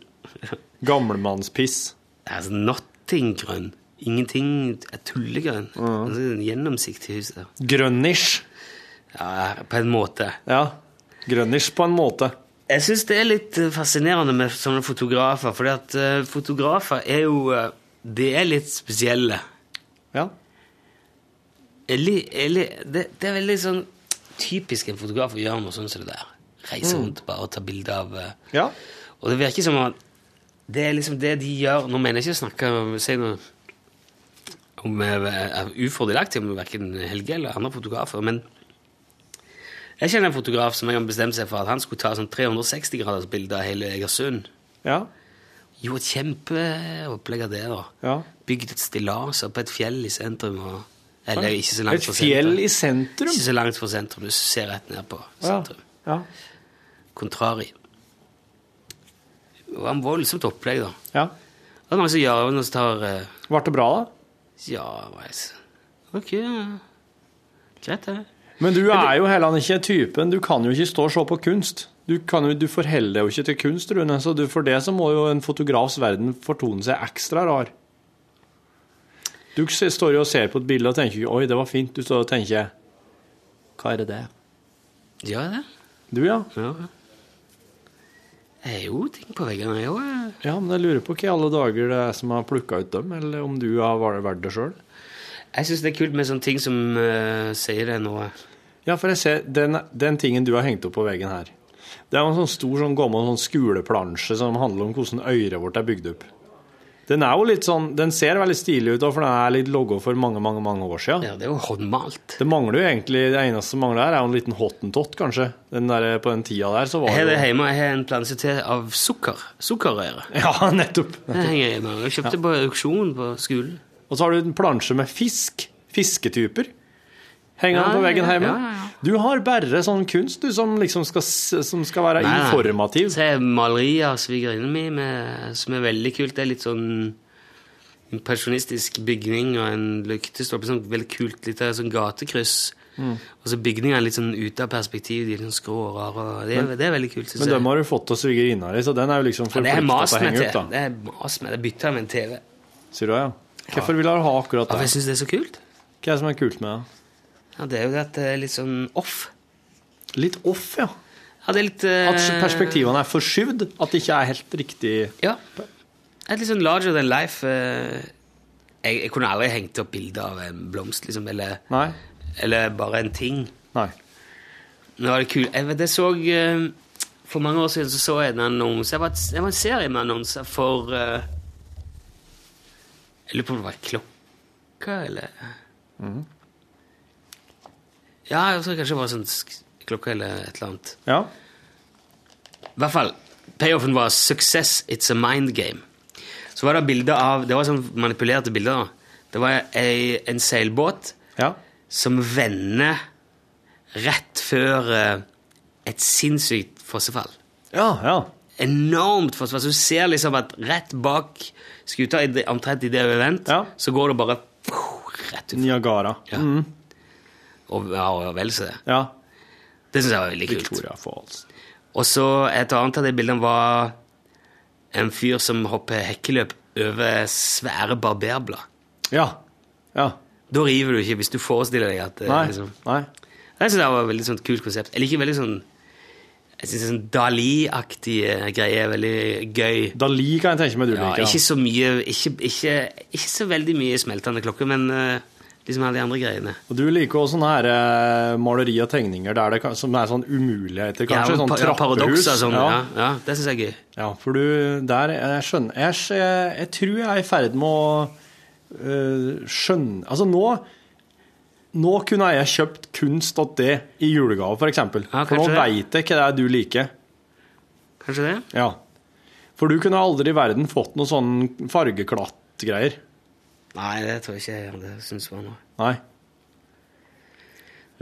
S6: Gamlemannspiss?
S2: Altså, Nottinggrønn. Ingenting er tullegrønn. Altså, en Gjennomsiktig hus. der.
S6: Grønnish?
S2: Ja, på en måte.
S6: Ja. Grønnish på en måte.
S2: Jeg syns det er litt eh, fascinerende med sånne fotografer, fordi at eh, fotografer er jo eh, De er litt spesielle.
S6: Ja.
S2: det, det er veldig sånn typisk en fotograf å gjøre noe sånn som det der. Reise
S6: Mm.
S2: rundt bare og ta bilde av eh,
S6: Ja.
S2: Og det virker som at det er liksom det de gjør Nå mener jeg ikke å snakke om- si noe om eh, ufordelaktig om verken Helge eller andre fotografer, men jeg kjenner en fotograf som en gang bestemte seg for at han skulle ta sånn 360-graders bilde av hele Egersund.
S6: Ja.
S2: Jo, et kjempeopplegg av det, da.
S6: Ja.
S2: Bygd et stillas oppe på et fjell i sentrum. Og,
S6: Oi.
S2: eller ikke så langt
S6: Et
S2: fra
S6: fjell
S2: sentrum.
S6: i sentrum?
S2: Ikke så langt fra sentrum. Du ser rett ned på
S6: Ja.
S2: sentrum.
S6: ja.
S2: Contrari. Det var en voldsomt opplegg, da.
S6: Ja.
S2: Det er mange som gjør det, noen som tar eh,
S6: Ble det bra, da?
S2: Ja, hva er det? Ok, ja. greit, det.
S6: Men du er jo heller ikke typen. Du kan jo ikke stå og se på kunst. Du, kan jo, du forholder deg jo ikke til kunst, Rune. Så du, for det så må jo en fotografs verden fortone seg ekstra rar. Du s- står jo og ser på et bilde og tenker ikke 'oi, det var fint'. Du står og tenker 'hva er det der'?
S2: Gjør jeg det?
S6: Du, ja.
S2: Jeg har jo eh. ting på veggene, jeg òg.
S6: Ja, men jeg lurer på hva i alle dager det er som har plukka ut dem, eller om du har vært- vært det sjøl.
S2: Jeg syns det er kult med sånne ting som eh, sier det nå.
S6: Ja, for jeg ser den, den tingen du har hengt opp på veggen her. Det er jo en sånn stor, sånn gammel sånn skuleplansje som handler om hvordan øret vårt er bygd opp. Den er jo litt sånn, den ser veldig stilig ut, da, for den er litt logga for mange mange, mange år siden.
S2: Ja, Det er jo håndmalt.
S6: Det mangler jo egentlig, det eneste som mangler her, er jo en liten hottentott, kanskje. Den der, på den tida der så var
S2: Jeg har
S6: det
S2: det
S6: jo
S2: hjemme. Jeg har en planse til av sukker. Sukkerrøre.
S6: Ja, nettopp.
S2: Det henger jeg med. Jeg kjøpte
S6: Ja.
S2: på auksjon på skolen.
S6: Og så har du en plansje med fisk. Fisketyper. Henger
S2: Ja,
S6: den på veggen
S2: ja,
S6: hjemme.
S2: ja, ja,
S6: Du har bare sånn kunst, du, som liksom skal, s- som skal være
S2: Nei, nei.
S6: inform...
S2: Så er maleri av svigerinnen min med, som er veldig kult. Det er litt sånn en pensjonistisk bygning og en lyktestolpe. Sånn veldig kult lite sånn gatekryss.
S6: Mm.
S2: Og så bygningen er litt sånn ute av perspektiv. De er litt sånn skrå og rare. og Det, er-
S6: Men-
S2: det er veldig kult, synes
S6: Men
S2: jeg.
S6: dem har du fått av svigerinna di, så den er jo liksom
S2: Ja, det er
S6: forpliktet
S2: mas
S6: til å
S2: med
S6: henge
S2: til.
S6: ut, da.
S2: Det er mas med. Det bytter jeg med en TV.
S6: Sier du, ja. Hvorfor vil du ha akkurat
S2: Ja,
S6: det?
S2: for jeg synes det er så kult.
S6: Hva er det som er kult med det?
S2: Ja, det er jo det at det er litt sånn off.
S6: Litt off, ja.
S2: Ja, det er litt eh,
S6: At perspektivene er forskyvd? At det ikke er helt riktig
S2: Ja. Et litt sånn larger than life. eh, Jeg, jeg kunne aldri hengt opp bilde av en blomst, liksom, eller,
S6: Nei.
S2: eller bare en ting.
S6: Nei.
S2: Nå er det kul. Jeg, vet, jeg så eh, For mange år siden så, så jeg en annonse Det var, et- det var en serie med annonser for eh, Jeg lurer på om det var klokka, eller
S6: Mhm.
S2: Ja, jeg tror kanskje det var sånn sk- klokka eller et eller annet.
S6: Ja.
S2: I hvert fall, payoffen var 'Success, it's a mind game'. Så var det bilder av Det var sånn manipulerte bilder. da. Det var ei, en seilbåt som vender rett før eh, et sinnssykt fossefall.
S6: Ja, ja.
S2: Enormt fossefall. Så du ser liksom at rett bak skuta, i det- omtrent idet hun er vendt, så går det bare pff, rett ut.
S6: Niagara.
S2: Ja.
S6: Mhm.
S2: Og, ja, og vel så det.
S6: Ja.
S2: Det syns jeg var veldig kult.
S6: Victoria Falls.
S2: Og så et annet av de bildene var en fyr som hopper hekkeløp over svære barberblad.
S6: Ja. ja.
S2: Da river du ikke hvis du forestiller deg at eh,
S6: Nei.
S2: liksom.
S6: Nei.
S2: Jeg syns det var et veldig sånt kult konsept. Jeg liker veldig sånn jeg synes sånn Dali-aktige greier er veldig gøy.
S6: Dali kan jeg tenke meg du
S2: ja,
S6: liker, ja.
S2: Ikke så mye, ikke, ikke, ikke så veldig mye smeltende klokke, men eh, liksom alle de andre greiene.
S6: Og du liker også sånne her eh, maleri og tegninger der det, kan- som er sånn umuligheter, kanskje?
S2: ja,
S6: sånn
S2: pa- ja,
S6: trappehus.
S2: paradokser og sånn. Ja. Ja, det syns jeg er gøy.
S6: Ja, for du der Jeg skjønner Jeg, skj- jeg tror jeg er i ferd med å øh, skjønne Altså, nå Nå kunne jeg kjøpt kunst av det i julegave, f.eks. For,
S2: Ja,
S6: for nå
S2: kanskje det.
S6: veit jeg hva det er du liker.
S2: Kanskje det?
S6: Ja. For du kunne aldri i verden fått noe sånn fargeklatt-greier.
S2: Nei, det tror jeg ikke jeg hadde syntes var noe.
S6: Nei.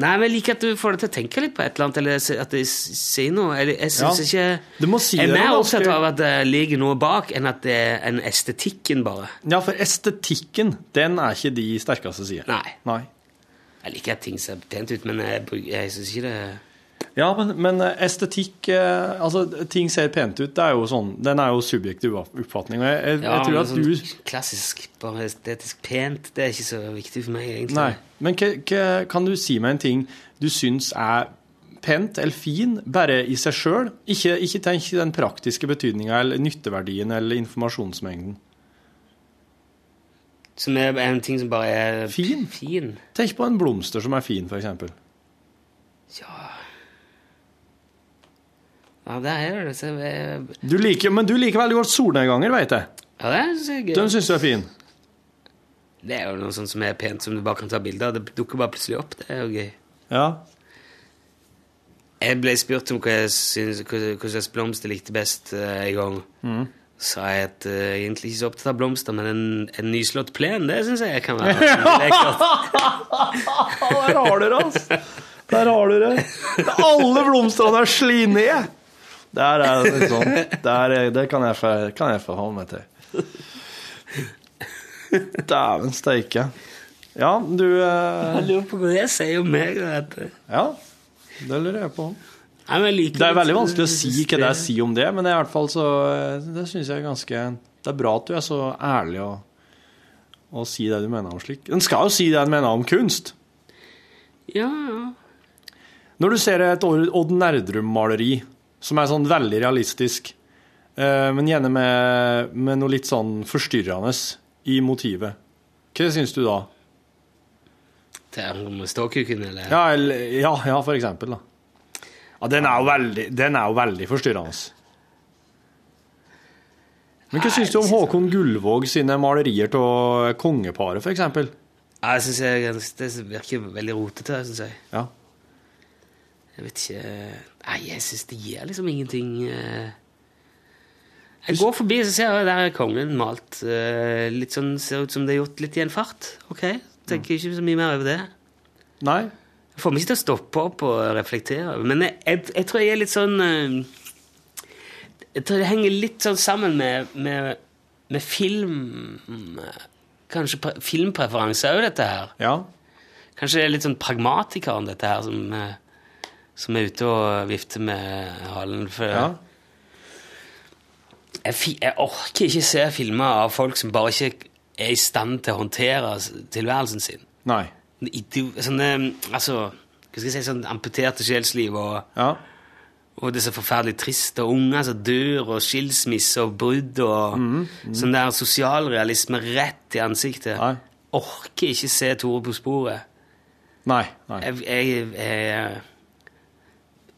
S2: Nei, men jeg liker at du får deg til å tenke litt på et eller annet, eller se- at de s- sier noe. Eller, jeg synes ikke
S6: Du må si
S2: Jeg er
S6: det,
S2: mer
S6: da,
S2: opptatt
S6: Asker.
S2: av at det ligger noe bak, enn at det er en estetikken, bare.
S6: Ja, for estetikken, den er ikke de sterkeste sider.
S2: Nei.
S6: Nei.
S2: Jeg liker at ting ser pent ut, men jeg, bruk- jeg syns ikke det
S6: Ja, men, men estetikk eh, Altså, ting ser pent ut. Det er jo sånn, den er jo subjektiv oppfatning. Og jeg, jeg,
S2: Ja,
S6: jeg tror
S2: men
S6: at
S2: sånn
S6: du
S2: Klassisk, bare estetisk pent, det er ikke så viktig for meg, egentlig.
S6: Nei. Men k k kan du si meg en ting du syns er pent eller fin, bare i seg sjøl? Ikke, ikke tenk i den praktiske betydninga eller nytteverdien eller informasjonsmengden.
S2: Som er en ting som bare er
S6: Fin.
S2: fin.
S6: Tenk på en blomster som er fin, f.eks.
S2: Ja, der er det. Så jeg,
S6: Du liker, men du liker veldig godt solnedganger, veit jeg.
S2: ja, det synes jeg er gøy.
S6: Den syns du er fin.
S2: Det er jo noe sånt som er pent, som du bare kan ta bilde av. Det dukker bare plutselig opp. Det er jo gøy.
S6: Ja.
S2: Jeg ble spurt om hva, jeg syns- hva hva slags blomst jeg likte best eh, en gang.
S6: Mm.
S2: Sa jeg at eh, jeg er egentlig ikke så opptatt av blomster, men en, en nyslått plen, det syns jeg kan være lekkert.
S6: Der har du det, altså! Der har du det. Alle blomstene er sli ned! Der er det sånn. Der er, det kan jeg, for- kan jeg forholde meg til. Dæven steike. Ja, du eh,
S2: Jeg lurer på hva det sier om meg. da, At,
S6: Ja, det lurer jeg på.
S2: Nei, men jeg liker
S6: Det er
S2: litt- eh,
S6: veldig vanskelig å si hva det er å si om det, men i hvert fall så eh, Det syns jeg er ganske Det er bra at du er så ærlig og, og si det du mener om slik. En skal jo si det en mener om kunst.
S2: Ja, ja.
S6: Når du ser et Odd Odd Nerdrum-maleri, som er sånn veldig realistisk, eh, men gjerne med, med noe litt sånn forstyrrende i motivet, hva syns du da?
S2: Det er om ståkuken, eller
S6: Ja, eller, ja, ja, for eksempel, da. Ja, den er jo veldig, den er jo veldig forstyrrende. Men hva syns du om Håkon Gullvåg sine malerier av kongeparet, for eksempel?
S2: Ja, jeg synes jeg, er ganske- Det virker veldig rotete, syns jeg.
S6: Ja.
S2: Jeg vet ikke Nei, jeg syns det gir liksom ingenting eh. Jeg går forbi og ser jeg, der er kongen malt eh, litt sånn Ser ut som det er gjort litt i en fart. Ok, tenker ikke så mye mer over det.
S6: Nei.
S2: Jeg får meg ikke til å stoppe opp og reflektere. Men jeg, jeg, jeg tror jeg er litt sånn eh, Jeg tror det henger litt sånn sammen med, med, med film eh, Kanskje pre filmpreferanse òg, dette her. Kanskje det er litt sånn pragmatikeren, dette her, som, eh, som er ute og vifter med halen. For jeg, fi- jeg orker ikke se filmer av folk som bare ikke er i stand til å håndtere s- tilværelsen sin.
S6: Nei.
S2: Idio- Sånne, altså, hva skal jeg si, sånn amputerte sjelsliv og, og det er så forferdelig trist, og unger som dør, og skilsmisse og brudd, og sånn der sosialrealisme rett i ansiktet. Orker ikke se Tore på sporet.
S6: Nei. nei.
S2: Jeg, jeg, jeg,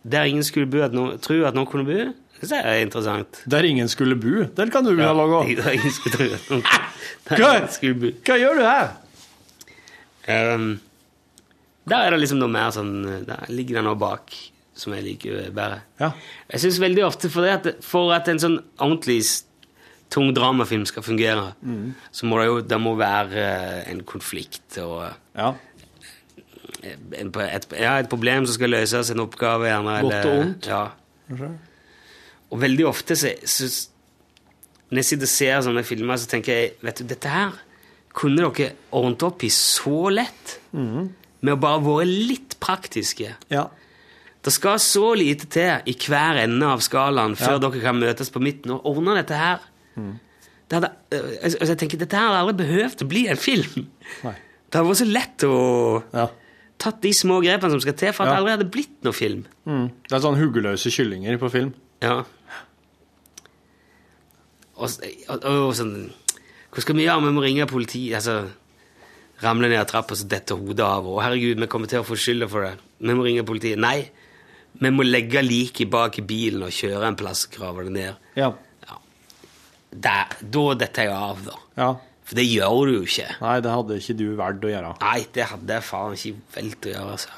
S2: der ingen skulle bo at noen, tro at noen kunne bo, det synes jeg er interessant.
S6: Der ingen skulle bo? Den kan du begynne å lage
S2: Der ingen skulle tro at noen der
S6: Hva?
S2: ingen skulle bo.
S6: Hva gjør du her?
S2: Ehm, der er det liksom noe mer sånn Der ligger det noe bak som jeg liker bedre. Jeg syns veldig ofte for, det at, for at en sånn ordentlig s- tung dramafilm skal fungere,
S6: Mm.
S2: så må det jo det må være eh, en konflikt og en, et, ja, et problem som skal løses, en oppgave gjerne.
S6: Godt
S2: eller-
S6: og ondt.
S2: Ja. Og veldig ofte så, så Når jeg sitter og ser sånne filmer, så tenker jeg Vet du, dette her kunne dere ordnet opp i så lett
S6: Mhm.
S2: med å bare være litt praktiske.
S6: Ja.
S2: Det skal så lite til i hver ende av skalaen før
S6: Ja. Mhm.
S2: dere kan møtes på midten og ordne dette her. Det hadde, øh, altså, altså, jeg tenker, Dette her hadde aldri behøvd å bli en film.
S6: Nei.
S2: Det hadde vært så lett å tatt de små grepene som skal til for at det
S6: Ja.
S2: aldri hadde blitt noe film.
S6: Mm. Det er sånn huggeløse kyllinger på film.
S2: Ja. Og, s- og, og sånn Hva skal vi gjøre? Vi må ringe politiet. Altså, ramle ned trappa, så detter hodet av. Å, herregud, vi kommer til å få skylda for det. Vi må ringe politiet. Nei, vi må legge liket bak i bilen og kjøre en plass og grave det ned.
S6: Ja.
S2: Der, da detter jeg av, da.
S6: ja.
S2: For det gjør du jo ikke.
S6: Nei, det hadde ikke du valgt å gjøre.
S2: Nei, det hadde jeg faen ikke valgt å gjøre, altså.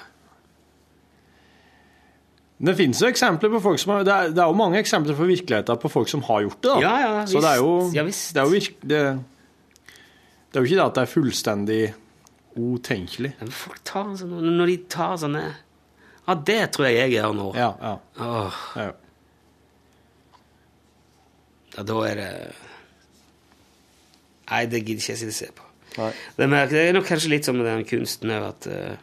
S6: Det finnes jo eksempler på folk som har, det, er, det er jo mange eksempler fra virkeligheten på folk som har gjort det. Da.
S2: Ja, ja,
S6: Så det er jo,
S2: visst. Ja, visst.
S6: Det, er jo virk, det, det er jo ikke det at det er fullstendig utenkelig.
S2: Folk tar sånne, når de tar sånne Ja, det tror jeg jeg gjør nå.
S6: Ja, ja.
S2: Åh.
S6: Ja.
S2: da er det Nei, det gidder ikke jeg sitte og se på. Det mer- det er nok kanskje litt som med den kunsten her at eh,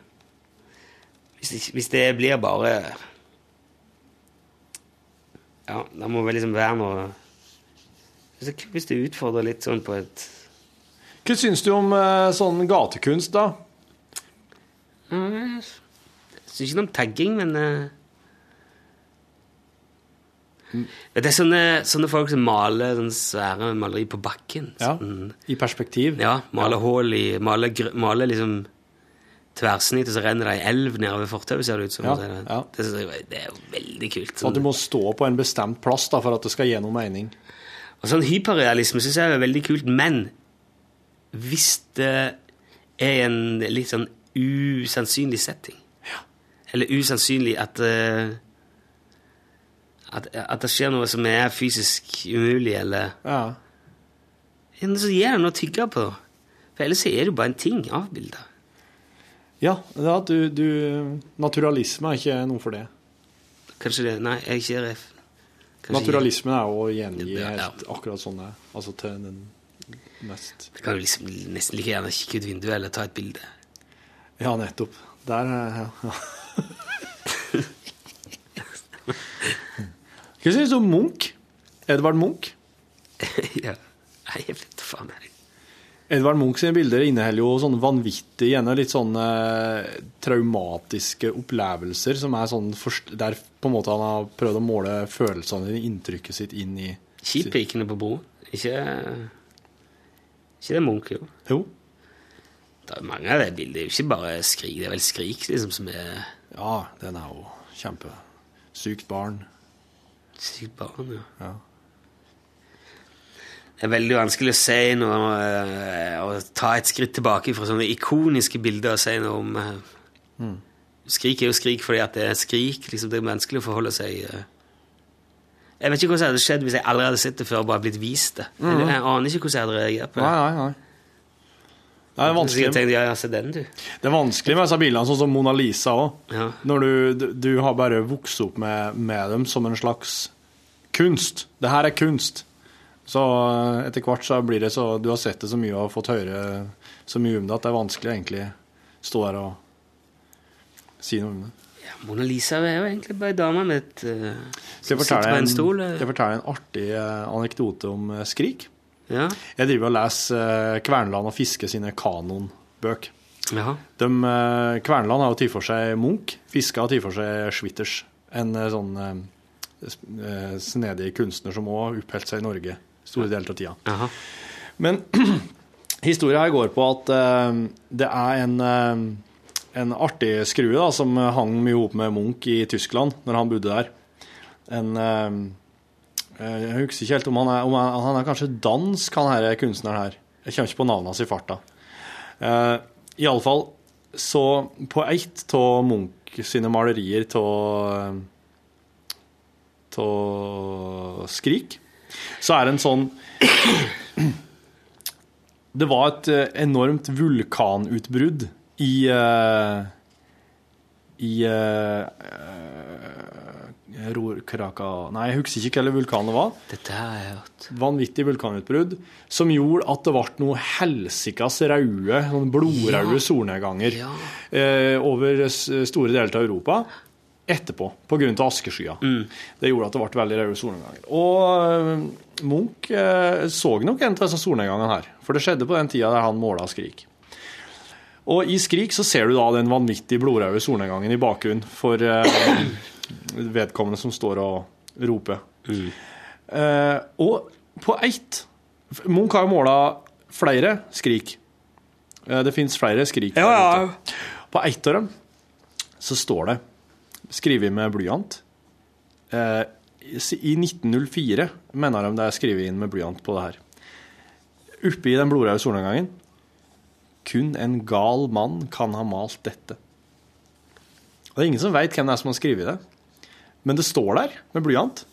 S2: hvis, det, ikke- hvis det blir bare Ja, det må vel liksom være noe Hvis det, hvis det utfordrer litt sånn på et
S6: Hva syns du om eh, sånn gatekunst, da?
S2: Mm, Jeg syns ikke noe om tagging, men eh, Det er sånne, sånne folk som maler sånne svære maleri på bakken. Sånn,
S6: I perspektiv?
S2: ja, maler hull i Maler, gr- maler liksom tverrsnitt, og så renner det ei elv nedover fortauet, ser det ut som.
S6: Ja,
S2: Og så er det, det, synes jeg- det er jo veldig kult.
S6: At du må stå på en bestemt plass da, for at det skal gi noe mening?
S2: Og sånn hyperrealisme syns jeg er veldig kult, men hvis det er en litt sånn usannsynlig setting Eller usannsynlig at, eh, at At det skjer noe som er fysisk umulig, eller
S6: Ja.
S2: Ja, men Så gir det noe å tygge på. For ellers så er det jo bare en ting avbilda.
S6: Ja, det er at du, du Naturalisme er ikke noe for det.
S2: Kanskje det Nei, jeg er ikke ref. kanskje
S6: Naturalisme er jo å gjengi
S2: Ja, ja.
S6: helt akkurat sånn det er. Altså til den mest
S2: ikke- Du kan jo liksom nesten like gjerne kikke ut vinduet eller ta et bilde.
S6: Ja, nettopp. Der er ja. Hva syns du om Munch? Edvard Munch?
S2: ja. Nei, jeg vet da faen. jeg.
S6: Edvard Munch sine bilder inneholder jo sånne vanvittige, gjerne litt sånne eh, traumatiske opplevelser, som er sånn forst- der på en måte han har prøvd å måle følelsene dine, inntrykket sitt, inn i
S2: Skipikene på broen. Ikke Ikke det Munch, jo.
S6: Jo.
S2: Det er jo mange av de bildene. Det er jo ikke bare Skrik. Det er vel Skrik liksom som er
S6: Ja, den er jo kjempe Sykt barn.
S2: Sykt barn, ja. Det er veldig vanskelig å si noe eh, Å ta et skritt tilbake fra sånne ikoniske bilder og si noe om eh,
S6: Mm.
S2: Skrik er jo skrik fordi at det er skrik. liksom Det er vanskelig å forholde seg eh. Jeg vet ikke hvordan det hadde skjedd hvis jeg aldri hadde sett det før og bare blitt vist det.
S6: Mm.
S2: Jeg, jeg aner ikke hvordan jeg hadde reagert på det.
S6: Nei, nei, nei. Det er vanskelig.
S2: Jeg tenkte, ja, ja, se den, du.
S6: Det er vanskelig med disse bildene, sånn som Mona Lisa òg.
S2: Ja.
S6: Når du, du, du har bare vokst opp med, med dem som en slags kunst. Det her er kunst. Så eh, etter hvert så blir det så Du har sett det så mye og fått høre så mye om det at det er vanskelig å egentlig stå her og si noe om det.
S2: Mona Lisa er jo egentlig bare ei dame med et eh,
S6: Skal
S2: som
S6: jeg
S2: sitter
S6: fortelle
S2: på en
S6: en,
S2: stol. eh.
S6: skal jeg fortelle en artig eh, anekdote om eh, Skrik?
S2: Ja.
S6: Jeg driver og leser eh, Kverneland og Fiske sine kanonbøk.
S2: Jaha.
S6: De, eh, Kverneland har jo tatt for seg Munch. Fiske har tatt for seg Schwitters. En eh, sånn eh, sp- eh, snedig kunstner som òg oppholdt seg i Norge store deler av tida.
S2: Jaha.
S6: Men historia her går på at eh, det er en, eh, en artig skrue da, som hang mye ihop med Munch i Tyskland når han bodde der. En, eh, eh, jeg husker ikke helt om han er, om han, han er kanskje dansk, han her kunstneren her. Jeg kommer ikke på navnet hans i farta. Uh, Iallfall så på ett av Munch sine malerier av eh, av Skrik, så er det en sånn det var et eh, enormt vulkanutbrudd i eh, I eh, eh, Rorkraka Nei, jeg husker ikke hvilken vulkan det var.
S2: Dette har jeg hørt.
S6: Vanvittig vulkanutbrudd som gjorde at det ble noe helsikas røde, sånn blodraude
S14: Ja.
S6: solnedganger eh, over s- store deler av Europa etterpå, pga. askeskya.
S14: Mm.
S6: Det gjorde at det ble veldig røde solnedganger. Og eh, Munch eh, så nok en av disse solnedgangene her, for det skjedde på den tida der han måla Skrik. Og i Skrik så ser du da den vanvittige blodraude solnedgangen i bakgrunnen for eh, vedkommende som står og roper. Eh, og på ett Munch har jo måla flere Skrik. Eh, det fins flere Skrik. der ute. På ett av dem så står det, skrevet med blyant eh, I 1904 mener de det er skrevet inn med blyant på det her. Oppe i den blodraude solnedgangen kun en gal mann kan ha malt dette. Og det er ingen som veit hvem det er som har skrevet det, men det står der med blyant.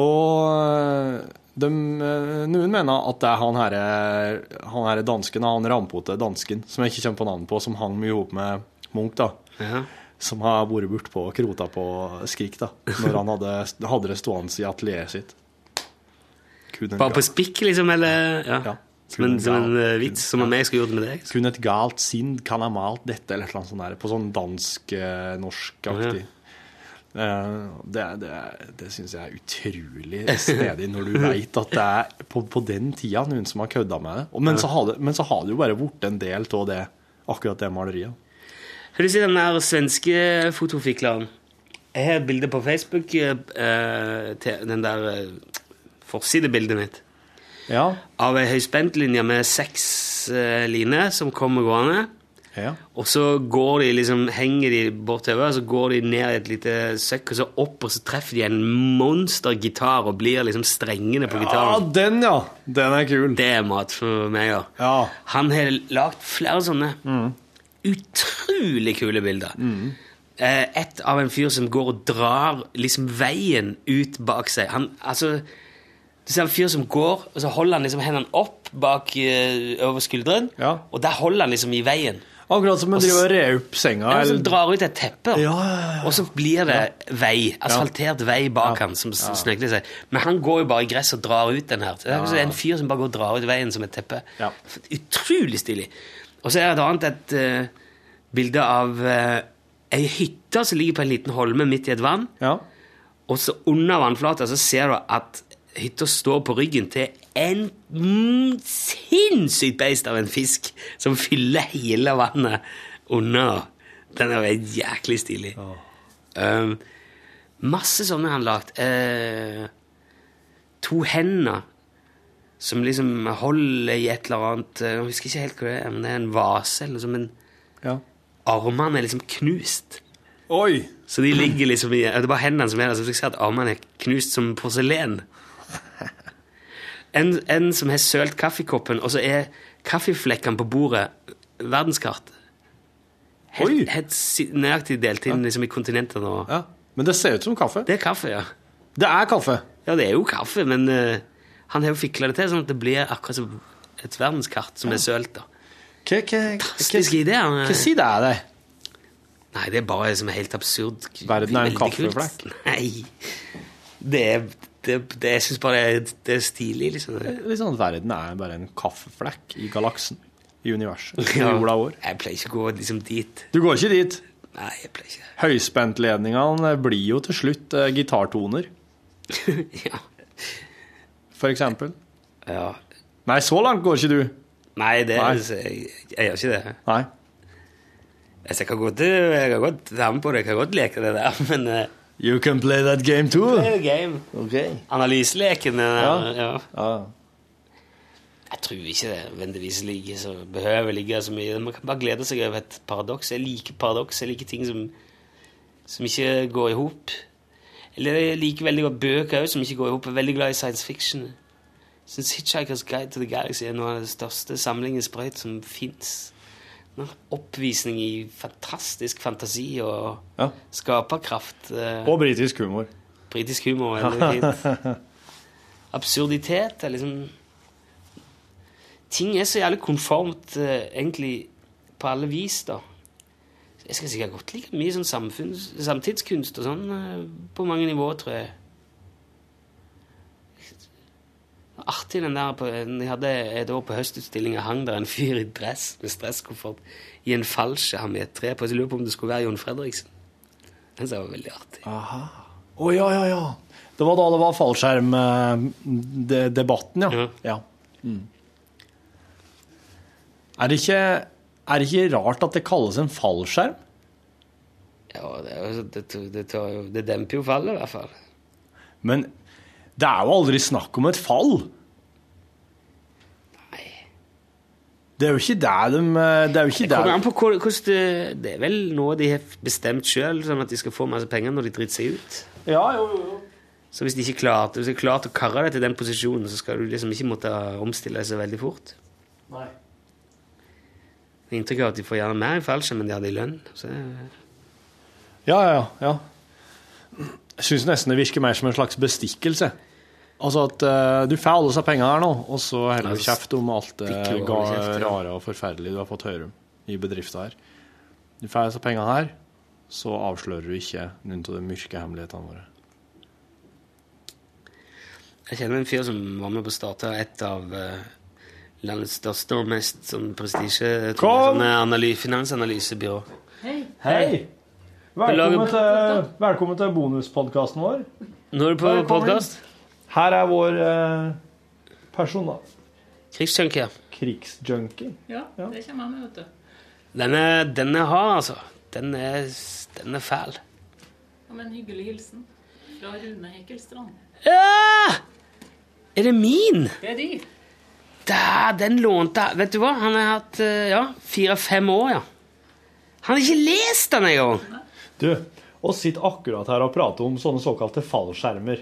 S6: Og De, eh, noen mener at det er han herre han herre dansken, han rampote dansken, som jeg ikke kommer på navnet på, som hang mye ihop med Munch, da. Som har vært bortpå og krota på Skrik, da. Når han hadde, hadde det stående i atelieret sitt. Kun en
S2: Bare på
S6: gal-
S2: spikk, liksom, eller? Ja. Som en, som en eh, vits, som om jeg skulle gjort det med deg.
S6: Kun et galt sinn kan ha malt dette, eller et eller annet sånt der. På sånn dansk-norsk-aktig. Eh, Det, er- det, er- det syns jeg er utrolig snedig, når du veit at det er på, på den tida noen som har kødda med det. Og, men,
S2: Ja.
S6: så har det men så har det jo bare blitt en del av det, akkurat det maleriet.
S2: Har du sett den der svenske fotofikleren? Jeg har et bilde på Facebook, eh, til den der eh, forsidebildet mitt,
S6: Ja.
S2: av ei høyspentlinje med seks eh, liner som kommer gående.
S6: Ja.
S2: Og så går de liksom, henger de bortover, så går de ned i et lite søkk, og så opp, og så treffer de en monstergitar og blir liksom strengene på
S6: Ja,
S2: gitaren.
S6: Ah, den, ja! Den er kul.
S2: Det er mat for meg, ja. Mm. Han har lagd flere sånne utrolig kule bilder. Eh, Et av en fyr som går og drar liksom veien ut bak seg. Han, altså, du ser en fyr som går, og så holder han liksom hendene opp bak eh, over skulderen, og der holder han liksom i veien.
S6: Akkurat som en
S2: Og s-
S6: driver og rer opp senga.
S2: Ja,
S6: eller-
S2: som drar ut et teppe, og så blir det vei, asfaltert vei bak han som s- snøkler seg. Men han går jo bare i gress og drar ut den her. Det er
S6: Ja.
S2: altså en fyr som bare går og drar ut veien som et teppe. Utrolig stilig. Og så er det et annet et eh, bilde av eh, ei hytte som ligger på en liten holme midt i et vann. Og så under vannflata så ser du at hytta står på ryggen til en mm, sinnssykt beist av en fisk som fyller hele vannet under. Den er jo jæklig stilig. Um, masse sånne han lagt. Eh, to hender som liksom holder i et eller annet eh, Jeg husker ikke helt hva det er, men det er en vase eller noe sånt. Men
S6: Ja.
S2: armene er liksom knust.
S6: Oi!
S2: Så de ligger liksom i Det er bare hendene som er der, så du ser at armene er knust som porselen. En, en som har sølt kaffekoppen, og så er kaffeflekkene på bordet verdenskart. Helt, helt si- nøyaktig delt inn liksom, i kontinentene. Og...
S6: Men det ser ut som kaffe?
S2: Det er kaffe, ja.
S6: Det er kaffe?
S2: Ja, det er jo kaffe, men eh, han har jo fikla det til sånn at det blir akkurat som et verdenskart som er sølt. da. Fantastiske ideer. men-
S6: Hva sier det er, det?
S2: Nei, det er bare som er helt absurd.
S6: Verden er en
S2: Veldig
S6: kaffeflekk.
S2: kult. Nei. Det er det, det, Jeg syns bare det er, det er stilig, liksom.
S6: Det er Litt sånn at verden er bare en kaffeflekk i galaksen, i universet. I
S2: Ja.
S6: jorda vår.
S2: Jeg pleier ikke å gå liksom dit.
S6: Du går ikke dit?
S2: Nei, jeg pleier ikke
S6: Høyspentledningene blir jo til slutt eh, gitartoner.
S2: ja.
S6: For eksempel.
S2: Ja.
S6: Nei, så langt går ikke du.
S2: Nei, det,
S6: Nei.
S2: Jeg, jeg gjør ikke det.
S6: Nei.
S2: Altså, jeg kan godt jeg kan godt være med på det, jeg kan godt leke det der, men eh,
S6: You can play that game too.
S2: det er jo game. Analyseleken den der, ja. Jeg tror ikke det nødvendigvis ligger så, behøver ligge så mye. Man kan bare glede seg over et paradoks. Jeg liker paradoks. Jeg liker ting som, som ikke går i hop. Eller jeg liker veldig godt bøker også, som ikke går i hop. Jeg er veldig glad i science fiction. Jeg syns Hitchhiker's Guide to the Galaxy er noe av den største samlingen sprøyt som fins. En Oppvisning i fantastisk fantasi og
S6: Ja.
S2: skaperkraft. eh,
S6: Og britisk humor.
S2: Britisk humor er veldig fint. absurditet er liksom Ting er så jævlig konformt eh, egentlig på alle vis, da. Jeg skal sikkert godt like mye sånn samfunns, samtidskunst og sånn eh, på mange nivåer, tror jeg. Artig den der på, når Jeg hadde et år på høstutstillinga hang der en fyr i dress med stresskoffert i en fallskjerm i et tre på. Så jeg lurer på om det skulle være Jon Fredriksen. Den synes jeg var veldig artig.
S6: Aha. Å ja, ja, ja. Det var da det var fallskjermdebatten, ja. ja. Mm. Er, det ikke, er det ikke rart at det kalles en fallskjerm?
S2: Ja, det, er jo- det, tar- det, tar jo- det demper jo fallet, i hvert fall.
S6: Men det er jo aldri snakk om et fall. Nei. Det er jo ikke det de eh, Det er jo ikke
S2: Det
S6: det
S2: kommer an på hvor- hvordan det, det er vel noe de har bestemt sjøl, sånn at de skal få masse penger når de driter seg ut.
S6: Ja, jo, jo, jo.
S2: Så hvis de ikke klarte, hvis de klarte å karre deg til den posisjonen, så skal du liksom ikke måtte omstille deg så veldig fort.
S6: Nei.
S2: Det er Inntrykk av at de får gjerne mer i fallskjerm enn de hadde i lønn. Så det-
S6: Ja, ja, ja. ja. Jeg syns nesten det virker mer som en slags bestikkelse. Altså at eh, du får alle disse pengene her nå, og så holder du
S14: Altså,
S6: kjeft om alt det
S14: stikker du
S6: ga,
S14: over kjeft, ja.
S6: rare og forferdelige du har fått høre om i bedriften her. Du får disse pengene her, så avslører du ikke noen av de mørke hemmelighetene våre.
S2: Jeg kjenner en fyr som var med på å starte et av eh, landets største og mest sånn, prestisje
S6: Kom!
S2: sånne analy- finansanalysebyrå.
S6: Hei! Eh,
S2: Hei. Velkommen
S6: til, bonuspodkasten vår.
S2: Nå er du på podkast.
S6: Her er vår eh, person, da.
S2: Krigsjunkier.
S6: Krigsjunkie.
S7: Ja, det kommer han med, vet du.
S2: Den er, den er hard, altså. Den er, den er fæl.
S7: Ja, men hyggelig hilsen fra Rune Hekkelstrand.
S2: Ja! Er det min?
S7: Det er de.
S2: Da, den lånte jeg- Vet du hva? Han har hatt eh, ja, fire-fem år, ja. Han har ikke lest den engang!
S6: Du, og sitter akkurat her og prater om sånne såkalte fallskjermer.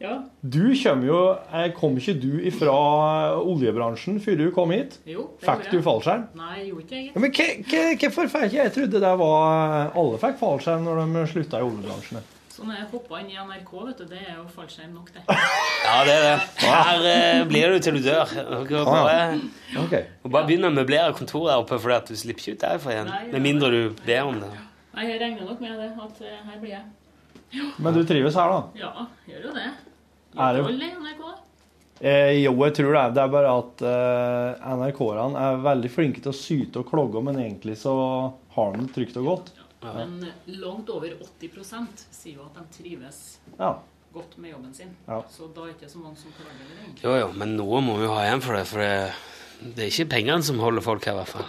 S7: Ja.
S6: Du kommer jo eh, Kom ikke du ifra eh, oljebransjen før du kom hit?
S7: Jo, det
S6: Fikk
S7: gjorde
S6: du
S7: jeg.
S6: fallskjerm?
S7: Nei, jeg gjorde ikke
S6: Ja,
S7: jeg.
S6: men hva- hva- Hvorfor fikk ikke jeg trodde det var eh, Alle fikk fallskjerm når de slutta i oljebransjen.
S7: Så når Sånn, jeg hoppa inn i NRK, vet du, det er jo fallskjerm nok, det.
S2: Ja, det Ah. er det. Her eh, blir du til du dør. Dere bare, og bare begynn å møblere kontoret her oppe, for at du slipper ikke ut derfra igjen.
S7: Nei, ja.
S2: Med mindre du ber om det.
S7: Nei, jeg regner nok med det, at eh, her blir jeg.
S6: Men du trives her, da?
S7: Ja, gjør jo det.
S6: Er det-
S7: Hold i NRK.
S6: Eh, jo, jeg tror det. er- Det er bare at eh, NRK-erne er veldig flinke til å syte og klogge, men egentlig så har de det trygt og godt.
S7: Men langt over 80 sier jo at de trives
S6: Ja.
S7: godt med jobben sin.
S2: Ja.
S7: Så da er det ikke så mange som klager det lenger.
S2: Jo, jo, men noe må vi jo ha igjen for det, for det, det er ikke pengene som holder folk her, i hvert fall.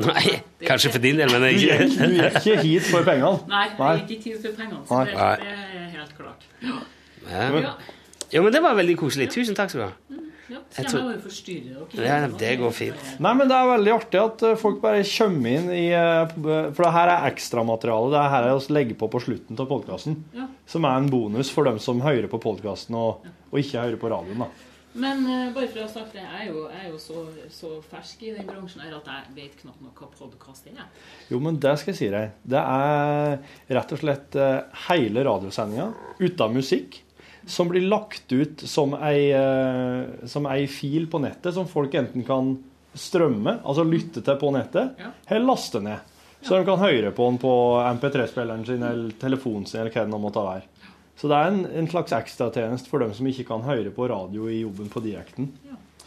S2: Nei, kanskje for din del, men
S6: Du
S2: ikke
S6: gikk, du gikk ikke hit for pengene.
S7: Nei, det er ikke tid for pengene. Så
S2: Nei.
S7: det,
S2: Nei.
S7: det er helt klart. Ja.
S2: Ja. Jo, men det var veldig koselig. Tusen takk skal du ha.
S7: Ja,
S2: Jeg
S7: jeg
S2: tror-
S7: må jo forstyrre dere.
S2: Ja, det går fint.
S6: Nei, men det er veldig artig at eh, folk bare kommer inn i eh, For det her er ekstramateriale. Det er her vi legger på på slutten av podkasten.
S7: Ja.
S6: Som er en bonus for dem som hører på podkasten og, og ikke hører på radioen. da.
S7: Men eh, bare for å ha sagt det, jeg er jo, jeg er jo så, så fersk i den bransjen her at jeg vet knapt nok hva podkast er.
S6: Jo, men det skal jeg si deg. Det er rett og slett eh, hele radiosendinga uten musikk. Som blir lagt ut som ei, eh, som ei fil på nettet som folk enten kan strømme, altså lytte til på nettet, eller laste ned. Så de kan høre på den på MP3-spilleren sin eller telefonen sin eller hva det nå måtte være. Så det er en, en slags ekstratjeneste for dem som ikke kan høre på radio i jobben på direkten.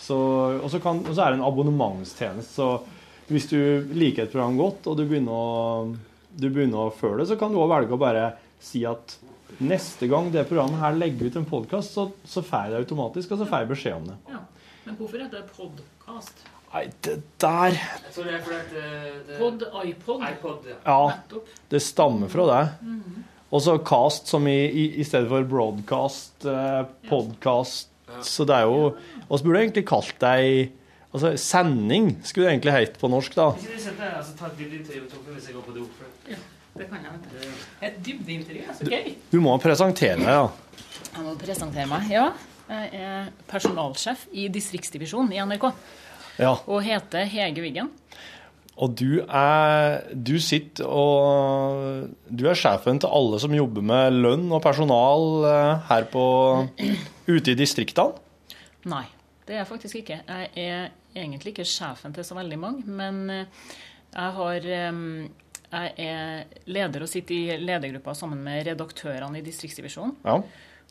S6: Så, og, så kan, og så er det en abonnementstjeneste. Så hvis du liker et program godt, og du begynner å, du begynner å føle det, så kan du også velge å bare si at neste gang det programmet her legger ut en podkast, så, så får jeg det automatisk, og så får jeg beskjed om det.
S7: Ja. Men hvorfor heter det podkast?
S6: Nei, det der
S7: Så det er fordi at Pod, iPod? iPod
S6: Ja,
S7: Nettopp.
S6: det stammer fra det.
S7: Mhm.
S6: Og så cast som i, i, i stedet for broadcast, eh, podcast. Så det er jo Og så burde jeg egentlig kalt det ei Altså sending skulle det egentlig hett på norsk, da.
S15: Ikke du sett deg her, så ta et dybdeintervju med Torfinn hvis jeg går på do?
S7: Ja, det kan jeg. vet du. Et dybdeintervju er så gøy.
S6: Du må presentere deg, da.
S7: Jeg må presentere meg. Ja, jeg er personalsjef i distriktsdivisjonen i NRK.
S6: Ja.
S7: Og heter Hege Wiggen.
S6: Og du er Du sitter og Du er sjefen til alle som jobber med lønn og personal eh, her på Ute i distriktene.
S7: Nei, det er jeg faktisk ikke. Jeg er egentlig ikke sjefen til så veldig mange, men eh, jeg har eh, jeg er leder og sitter i ledergruppa sammen med redaktørene i distriktsdivisjonen.
S6: Ja.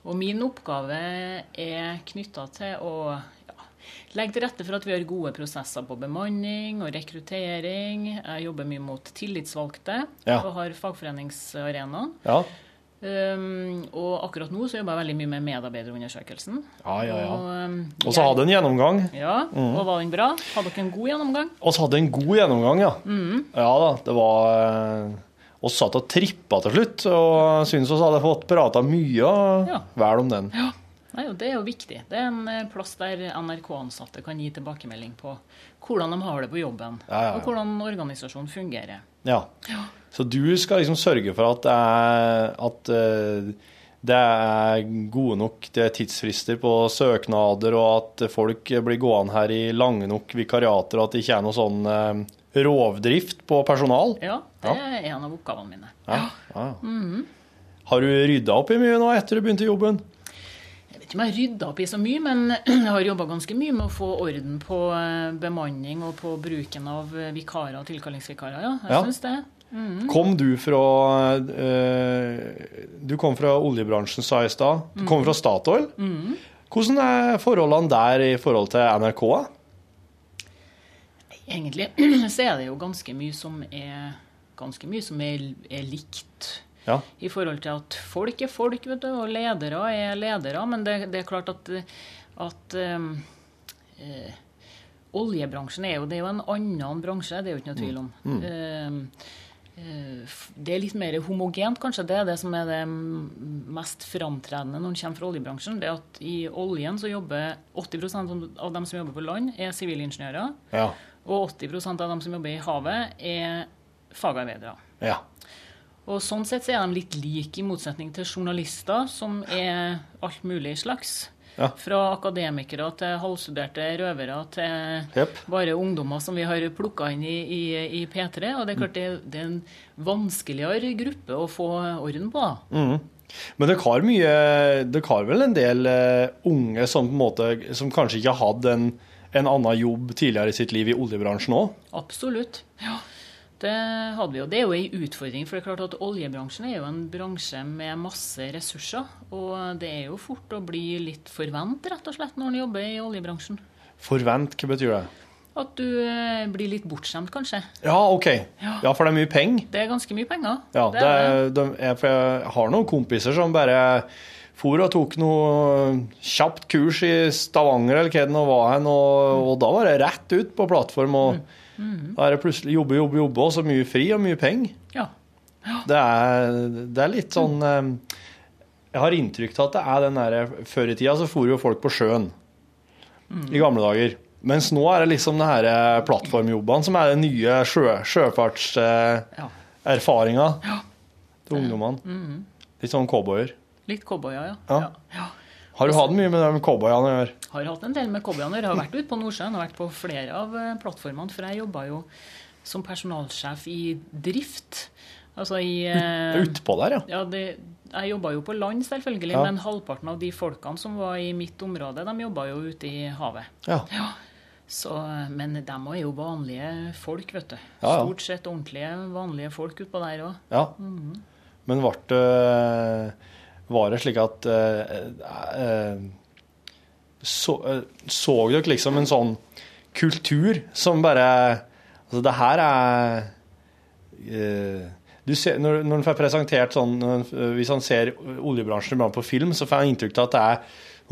S7: Og min oppgave er knytta til å ja, legge til rette for at vi har gode prosesser på bemanning og rekruttering. Jeg jobber mye mot tillitsvalgte
S6: Ja.
S7: og har fagforeningsarenaen.
S6: Ja.
S7: Um, og akkurat nå så jobber jeg veldig mye med medarbeiderundersøkelsen.
S6: Ja, ja, ja.
S7: Og, um,
S6: Og så hadde en gjennomgang.
S7: Ja,
S2: Mm.
S6: Mhm.
S7: og var den bra? Hadde dere en god gjennomgang?
S6: Og så hadde en god gjennomgang, ja.
S7: Mhm.
S6: Ja da, det var Vi satt og trippa til slutt, og syns vi hadde fått prata mye og
S7: Ja.
S6: vel om den.
S7: Nei, og Det er jo viktig. Det er en eh, plass der NRK-ansatte kan gi tilbakemelding på hvordan de har det på jobben,
S6: Ja, ja, ja.
S7: og hvordan organisasjonen fungerer.
S6: Ja. Så du skal liksom sørge for at det er, at eh, det er gode nok det er tidsfrister på søknader, og at folk blir gående her i lange nok vikariater, og at det ikke er noe sånn eh, rovdrift på personal.
S7: Ja, det
S6: Ja.
S7: er en av oppgavene mine.
S6: Ja, ja.
S7: Mhm.
S6: Har du rydda opp i mye nå etter du begynte i jobben?
S7: ikke om jeg har rydda opp i så mye, men jeg har jobba ganske mye med å få orden på eh, bemanning og på bruken av eh, vikarer og tilkallingsvikarer. Ja, jeg
S6: Ja.
S7: syns det. Mhm.
S6: Kom du fra eh, Du kom fra oljebransjen, sa jeg i stad. Du kom
S7: Mhm.
S6: fra Statoil.
S7: Mhm.
S6: Hvordan er forholdene der i forhold til NRK? da?
S7: Egentlig så er det jo ganske mye som er ganske mye som er, er likt.
S6: Ja.
S7: I forhold til at folk er folk, vet du, og ledere er ledere. Men det, det er klart at, at um, eh, oljebransjen er jo, det er jo en annen bransje, det er jo ikke noe tvil om.
S16: Mm.
S7: Um, eh, f- det er litt mer homogent, kanskje. Det er det som er det mm, mest framtredende når en kommer fra oljebransjen. Det er at i oljen så jobber 80 av dem som jobber på land, er sivilingeniører.
S6: Ja.
S7: Og 80 av dem som jobber i havet, er fagarbeidere.
S6: Ja.
S7: Og sånn sett så er de litt like, i motsetning til journalister, som er alt mulig slags.
S6: Ja.
S7: Fra akademikere til halvstuderte røvere til
S6: Jep.
S7: bare ungdommer som vi har plukka inn i, i, i P3. Og det er klart det, det er en vanskeligere gruppe å få orden på. da.
S6: Mhm. Men dere har mye Dere har vel en del eh, unge som på en måte Som kanskje ikke har hatt en, en annen jobb tidligere i sitt liv i oljebransjen òg?
S7: Absolutt. Ja. Det hadde vi jo. Det er jo ei utfordring. For det er klart at oljebransjen er jo en bransje med masse ressurser. Og det er jo fort å bli litt forvent, rett og slett, når en jobber i oljebransjen.
S6: Forvent, hva betyr det?
S7: At du eh, blir litt bortskjemt, kanskje.
S6: Ja, OK.
S7: Ja.
S6: Ja, for det er mye penger.
S7: Det er ganske mye penger.
S6: Ja,
S7: Det
S6: det er, de, jeg, for jeg har noen kompiser som bare for og tok noe øh, kjapt kurs i Stavanger eller hva det nå var hen, og, og da var det rett ut på plattform. Og
S7: Mhm.
S6: da er det plutselig jobbe, jobbe, jobbe, og så mye fri og mye penger.
S7: Ja. Mm.
S6: Det er, det er litt sånn eh, Jeg har inntrykk av at det er den derre Før i tida så for jo folk på sjøen
S7: Mm.
S6: i gamle dager. Mens nå er det liksom det her eh, plattformjobbene som er den nye sjø,
S7: Ja.
S6: øh, sjøfartserfaringa til ungdommene.
S7: Mhm.
S6: Litt sånn cowboyer.
S7: Litt cowboyer, ja.
S6: Ja. Har du hatt mye med de cowboyene å gjøre?
S7: Har hatt en del med cowboyene. Jeg har vært ute på Nordsjøen og vært på flere av eh, plattformene. For jeg jobba jo som personalsjef i drift. Altså i eh,
S6: Ut- utpå der, ja.
S7: det, jeg jobba jo på land, selvfølgelig.
S6: Ja.
S7: Men halvparten av de folkene som var i mitt område, de jobba jo ute i havet.
S6: Ja.
S7: Så, eh, men dem òg er jo vanlige folk, vet du.
S6: Ja, ja.
S7: Stort sett ordentlige, vanlige folk utpå der òg.
S6: ja. Men var det, var det slik at eh, eh, så, eh, så dere liksom en sånn kultur som bare Altså, det her er eh, du ser, når, når en får presentert sånn når en- Hvis han ser oljebransjen iblant på film, så får han inntrykk av at det er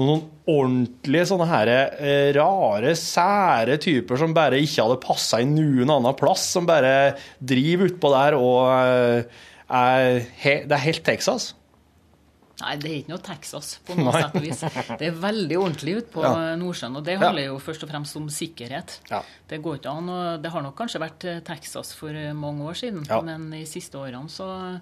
S6: noen ordentlige sånne her, eh, rare, sære typer som bare ikke hadde passa inn noen annen plass, som bare driver utpå der og eh, er he, Det er helt Texas.
S7: Nei, det er ikke noe Texas, på noe
S6: Nei.
S7: sett og vis. Det er veldig ordentlig ute på
S6: Ja.
S7: Nordsjøen, og det
S6: Ja.
S7: handler jo først og fremst om sikkerhet. Det går ikke an, og det har nok kanskje vært eh, Texas for eh, mange år siden,
S6: Ja.
S7: men de siste årene så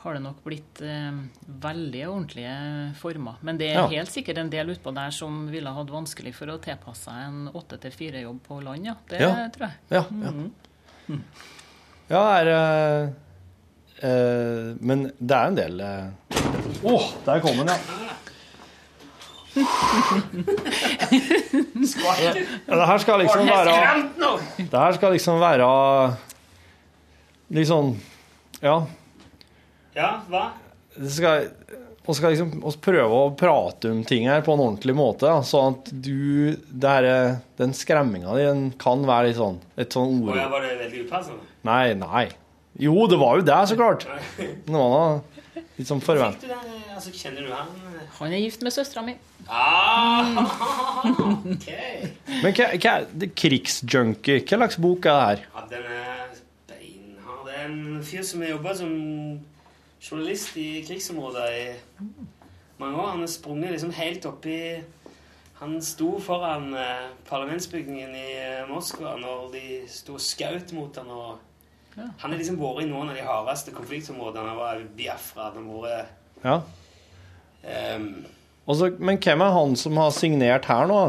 S7: har det nok blitt eh, veldig ordentlige former. Men det er
S6: Ja.
S7: helt sikkert en del utpå der som ville hatt vanskelig for å tilpasse seg en åtte til fire-jobb på land, ja. Det
S6: Ja.
S7: tror jeg.
S6: Ja, ja. Mm.
S7: Mhm.
S6: Ja, er eh, eh, Men det er en del eh. Åh, der kom den, ja. Ja, Det her skal liksom være Det her skal liksom være Litt sånn Ja.
S15: Ja, hva?
S6: Vi skal, og skal liksom og prøve å prate om ting her på en ordentlig måte, da, sånn at du det her, eh, Den skremminga di den kan være litt sånn et sånn
S15: Og jeg
S6: ord
S15: var det veldig upassende.
S6: Nei, nei. Jo, det var jo det, så klart. Det var da litt sånn forvent...
S15: Du, den, eh, altså, kjenner du han?
S7: Han er gift med søstera mi.
S15: Ah, ok.
S6: Men hva, hva er det- krigsjunkie? Hva slags bok er det her?
S15: Ja, den er beinhard. Det er en fyr som har jobba som journalist i krigsområder i mange år. Han har sprunget liksom helt oppi Han sto foran eh, parlamentsbygningen i eh, Moskva når de sto og skjøt mot han og Han har liksom vært i noen av de hardeste konfliktområdene. Han var i Biafra, han har vært
S6: Ja.
S15: ehm,
S6: Og så- men hvem er han som har signert her nå?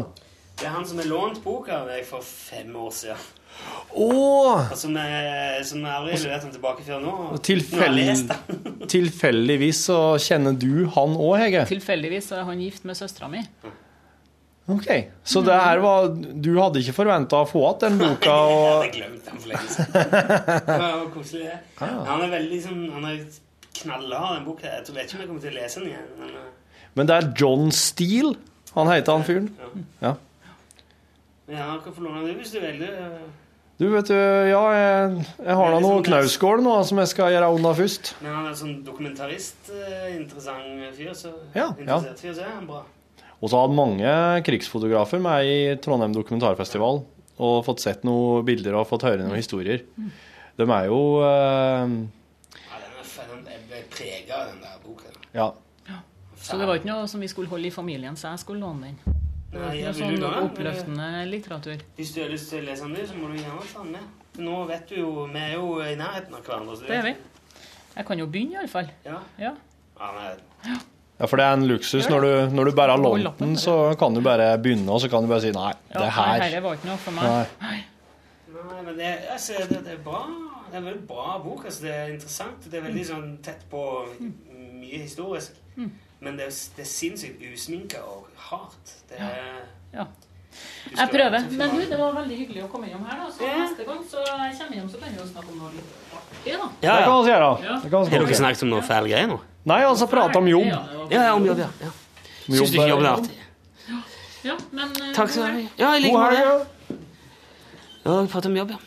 S15: Det er han som har lånt boka av meg for fem år siden. eh,
S6: Åh!
S15: Og som jeg, som jeg aldri har levert den tilbake før nå. Nå har jeg
S6: Tilfell...
S15: lest den.
S6: tilfeldigvis så kjenner du han òg, Hege?
S7: Tilfeldigvis så er han gift med søstera mi.
S6: Ok, Så det her var Du hadde ikke forventa å få igjen den boka?
S2: Jeg hadde glemt den for lenge Det
S6: Og...
S2: var jo koselig, det.
S6: Ah.
S2: Han er veldig sånn Han er knallhard, den boka. Jeg tror- vet ikke om jeg kommer til å lese den igjen. Men eh,
S6: Men det er John Steele han heter, han fyren? Ja.
S2: men ja, han kan få låne den hvis du vil. du.
S6: Du, vet du, ja, jeg, jeg har da noe knausgård nå som jeg skal gjøre unna først.
S2: Men han er sånn dokumentarist, eh, interessant fyr, så
S6: Ja, ja.
S2: interessert fyr, så er han bra.
S6: Og så hadde mange krigsfotografer med i Trondheim dokumentarfestival og fått sett noen bilder og fått høre noen historier. De er jo eh,
S2: Ja, den er fe- den- Jeg ble prega av den der boka.
S6: Ja.
S7: Så det var ikke noe som vi skulle holde i familien, så jeg skulle låne den. Det var
S2: Nei,
S7: ikke
S2: jeg
S7: noe
S2: vil
S7: sånn
S2: jo
S7: noe
S2: låne den,
S7: oppløftende litteratur.
S2: Hvis du har lyst til å lese den, du, så må du gjerne ta den med. Nå vet du jo Vi er jo i nærheten av hverandre. Så
S7: Det er vi. Jeg kan jo begynne, iallfall.
S2: Ja.
S7: Ja.
S2: Han er
S6: ja, for det er en luksus. Når du, når du bare har lånt den, så kan du bare begynne, og så kan du bare si nei,
S7: Ja,
S6: det
S7: nei,
S6: her.
S7: dette var ikke noe for meg.
S6: Nei.
S2: Nei, men det, altså, det, det er bra. Det er en veldig bra bok. Altså, det er interessant. Det er veldig sånn tett på mye historisk.
S7: Mm.
S2: Men det er, det er sinnssykt usminka og hardt. Det er,
S7: Ja.
S2: Du skal
S7: Jeg prøver.
S2: være tøff i
S7: Men du,
S2: magen.
S7: det var veldig hyggelig å komme innom her, da. Så neste gang så jeg kommer innom, så kan vi jo snakke om noe litt artig, da.
S6: Ja, Det kan vi gjøre. Det kan vi
S2: Har dere
S6: gjøre.
S2: snakket om noe fæl greie nå?
S6: Nei, altså prate om jobb.
S2: Ja, ja, om jobb, ja. ja.
S6: Om
S2: Syns du ikke
S6: jobb
S2: jobben
S6: er-
S2: er artig?
S7: Ja, men eh,
S2: Takk skal du ha.
S7: god helg.
S2: Ja, i like
S6: God
S2: måte.
S6: helg,
S2: Ja, vi prater om jobb, ja.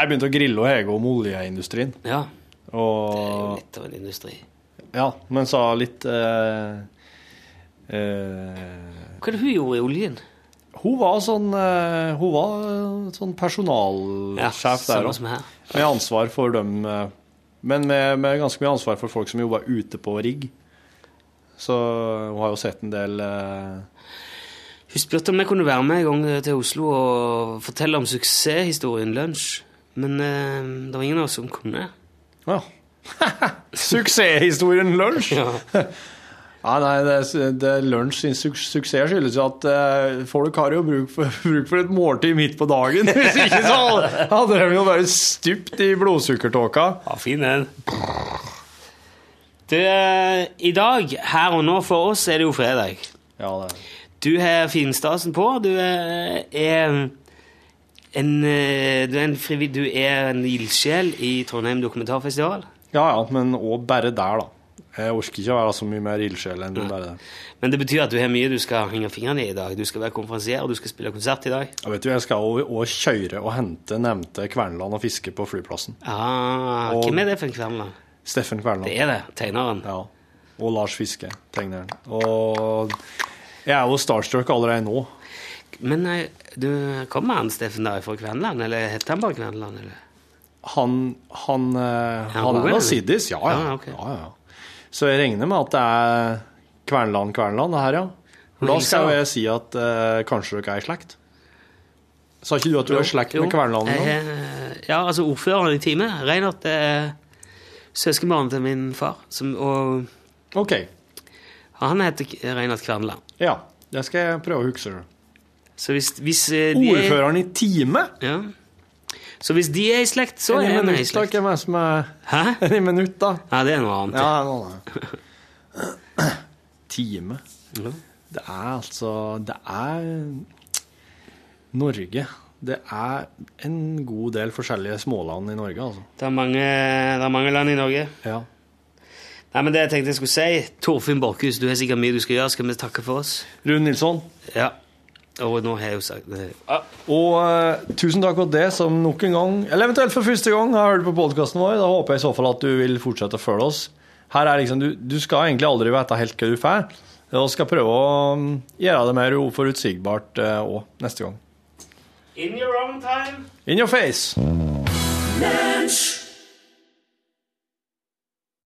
S6: Jeg begynte å grille og Hege om oljeindustrien.
S2: Ja.
S6: Og... Det er jo
S2: litt av en industri.
S6: Ja, men sa litt eh, eh,
S2: Hva er det hun gjorde i oljen?
S6: Hun var sånn, eh, hun var eh, sånn
S2: Ja,
S6: personalsjef
S2: samme
S6: der også.
S2: som her.
S6: Med ansvar for dem eh, Men med, med ganske mye ansvar for folk som jobber ute på rigg. Så eh, hun har jo sett en del eh,
S2: Hun spurte om jeg kunne være med en gang eh, til Oslo og fortelle om suksesshistorien Lunsj. Men eh, det var ingen av oss som kunne.
S6: Ja. Suksesshistorien Lunsj! Ja, nei, det, det Lunsj sin su suksess skyldes jo at eh, folk har jo bruk for, bruk for et måltid midt på dagen. Hvis ikke så hadde de jo bare stupt i blodsukkertåka.
S2: Ja, fin den. Du, eh, i dag, her og nå, for oss er det jo fredag.
S6: Ja, det
S2: Du har finstasen på. Du eh, er en, eh, du er en, frivi- du er en ildsjel i Trondheim dokumentarfestival.
S6: Ja ja, men òg bare der, da. Jeg orker ikke å være så mye mer ildsjel enn bare det.
S2: Men det betyr at du har mye du skal henge fingrene i i dag. Du skal være konferansier, og du skal spille konsert i dag.
S6: Jeg vet jo, jeg skal òg kjøre og hente nevnte Kverneland og fiske på flyplassen.
S2: Ah,
S6: Og-
S2: Hvem er det for en kveld, da?
S6: Steffen Kverneland.
S2: Det er det. Tegneren.
S6: Ja. Og Lars Fiske, tegneren. Og jeg er jo starstruck allerede nå.
S2: Men eh, du kommer han Steffen der fra Kvenland, eller heter han bare Kvenland? Eller?
S6: Han, han, eh,
S2: han
S6: han
S2: god,
S6: er
S2: eller?
S6: da siddis, ja ja.
S2: Ja,
S6: Ja,
S2: ok.
S6: ja, ja. Så jeg regner med at det er Kverneland, Kverneland det her, ja.
S2: Men
S6: Da
S2: hilser da.
S6: skal jo jeg si at eh, kanskje dere er i slekt. Sa ikke du at du er i slekt med
S2: Jo.
S6: Kverneland? nå?
S2: Jeg, eh, Ja, altså ordføreren i time, Reinhardt, er søskenbarnet til min far. Som, og
S6: Ok.
S2: Han heter K- Reinhardt Kverneland.
S6: Ja, det skal jeg prøve å huske.
S2: Så hvis, hvis eh, de er-
S6: Ordføreren i Time?
S2: Ja. Så hvis de er i slekt, så
S6: En i
S2: er vi i
S6: minutt, da,
S2: slekt.
S6: hvem er det som er
S2: Hæ?
S6: En i minutt, da.
S2: Ja, det er noe annet.
S6: Ja, nå, da. Time. Det er altså Det er Norge. Det er en god del forskjellige småland i Norge, altså.
S2: Det er mange, det er mange land i Norge.
S6: Ja.
S2: Nei, men det jeg tenkte jeg skulle si, Torfinn Borkhus, du har sikkert mye du skal gjøre. Skal vi takke for oss?
S6: Rune Nilsson.
S2: Ja. Og nå har jeg jo sagt det.
S6: Og eh, tusen takk for det som nok en gang, eller eventuelt for første gang, har hørt på podkasten vår. Da håper jeg i så fall at du vil fortsette å følge oss. Her er liksom, Du, du skal egentlig aldri vite helt hva du får. Og skal prøve å mm, gjøre det mer uforutsigbart òg neste gang.
S2: In your own time.
S6: In your face!
S2: Lunch.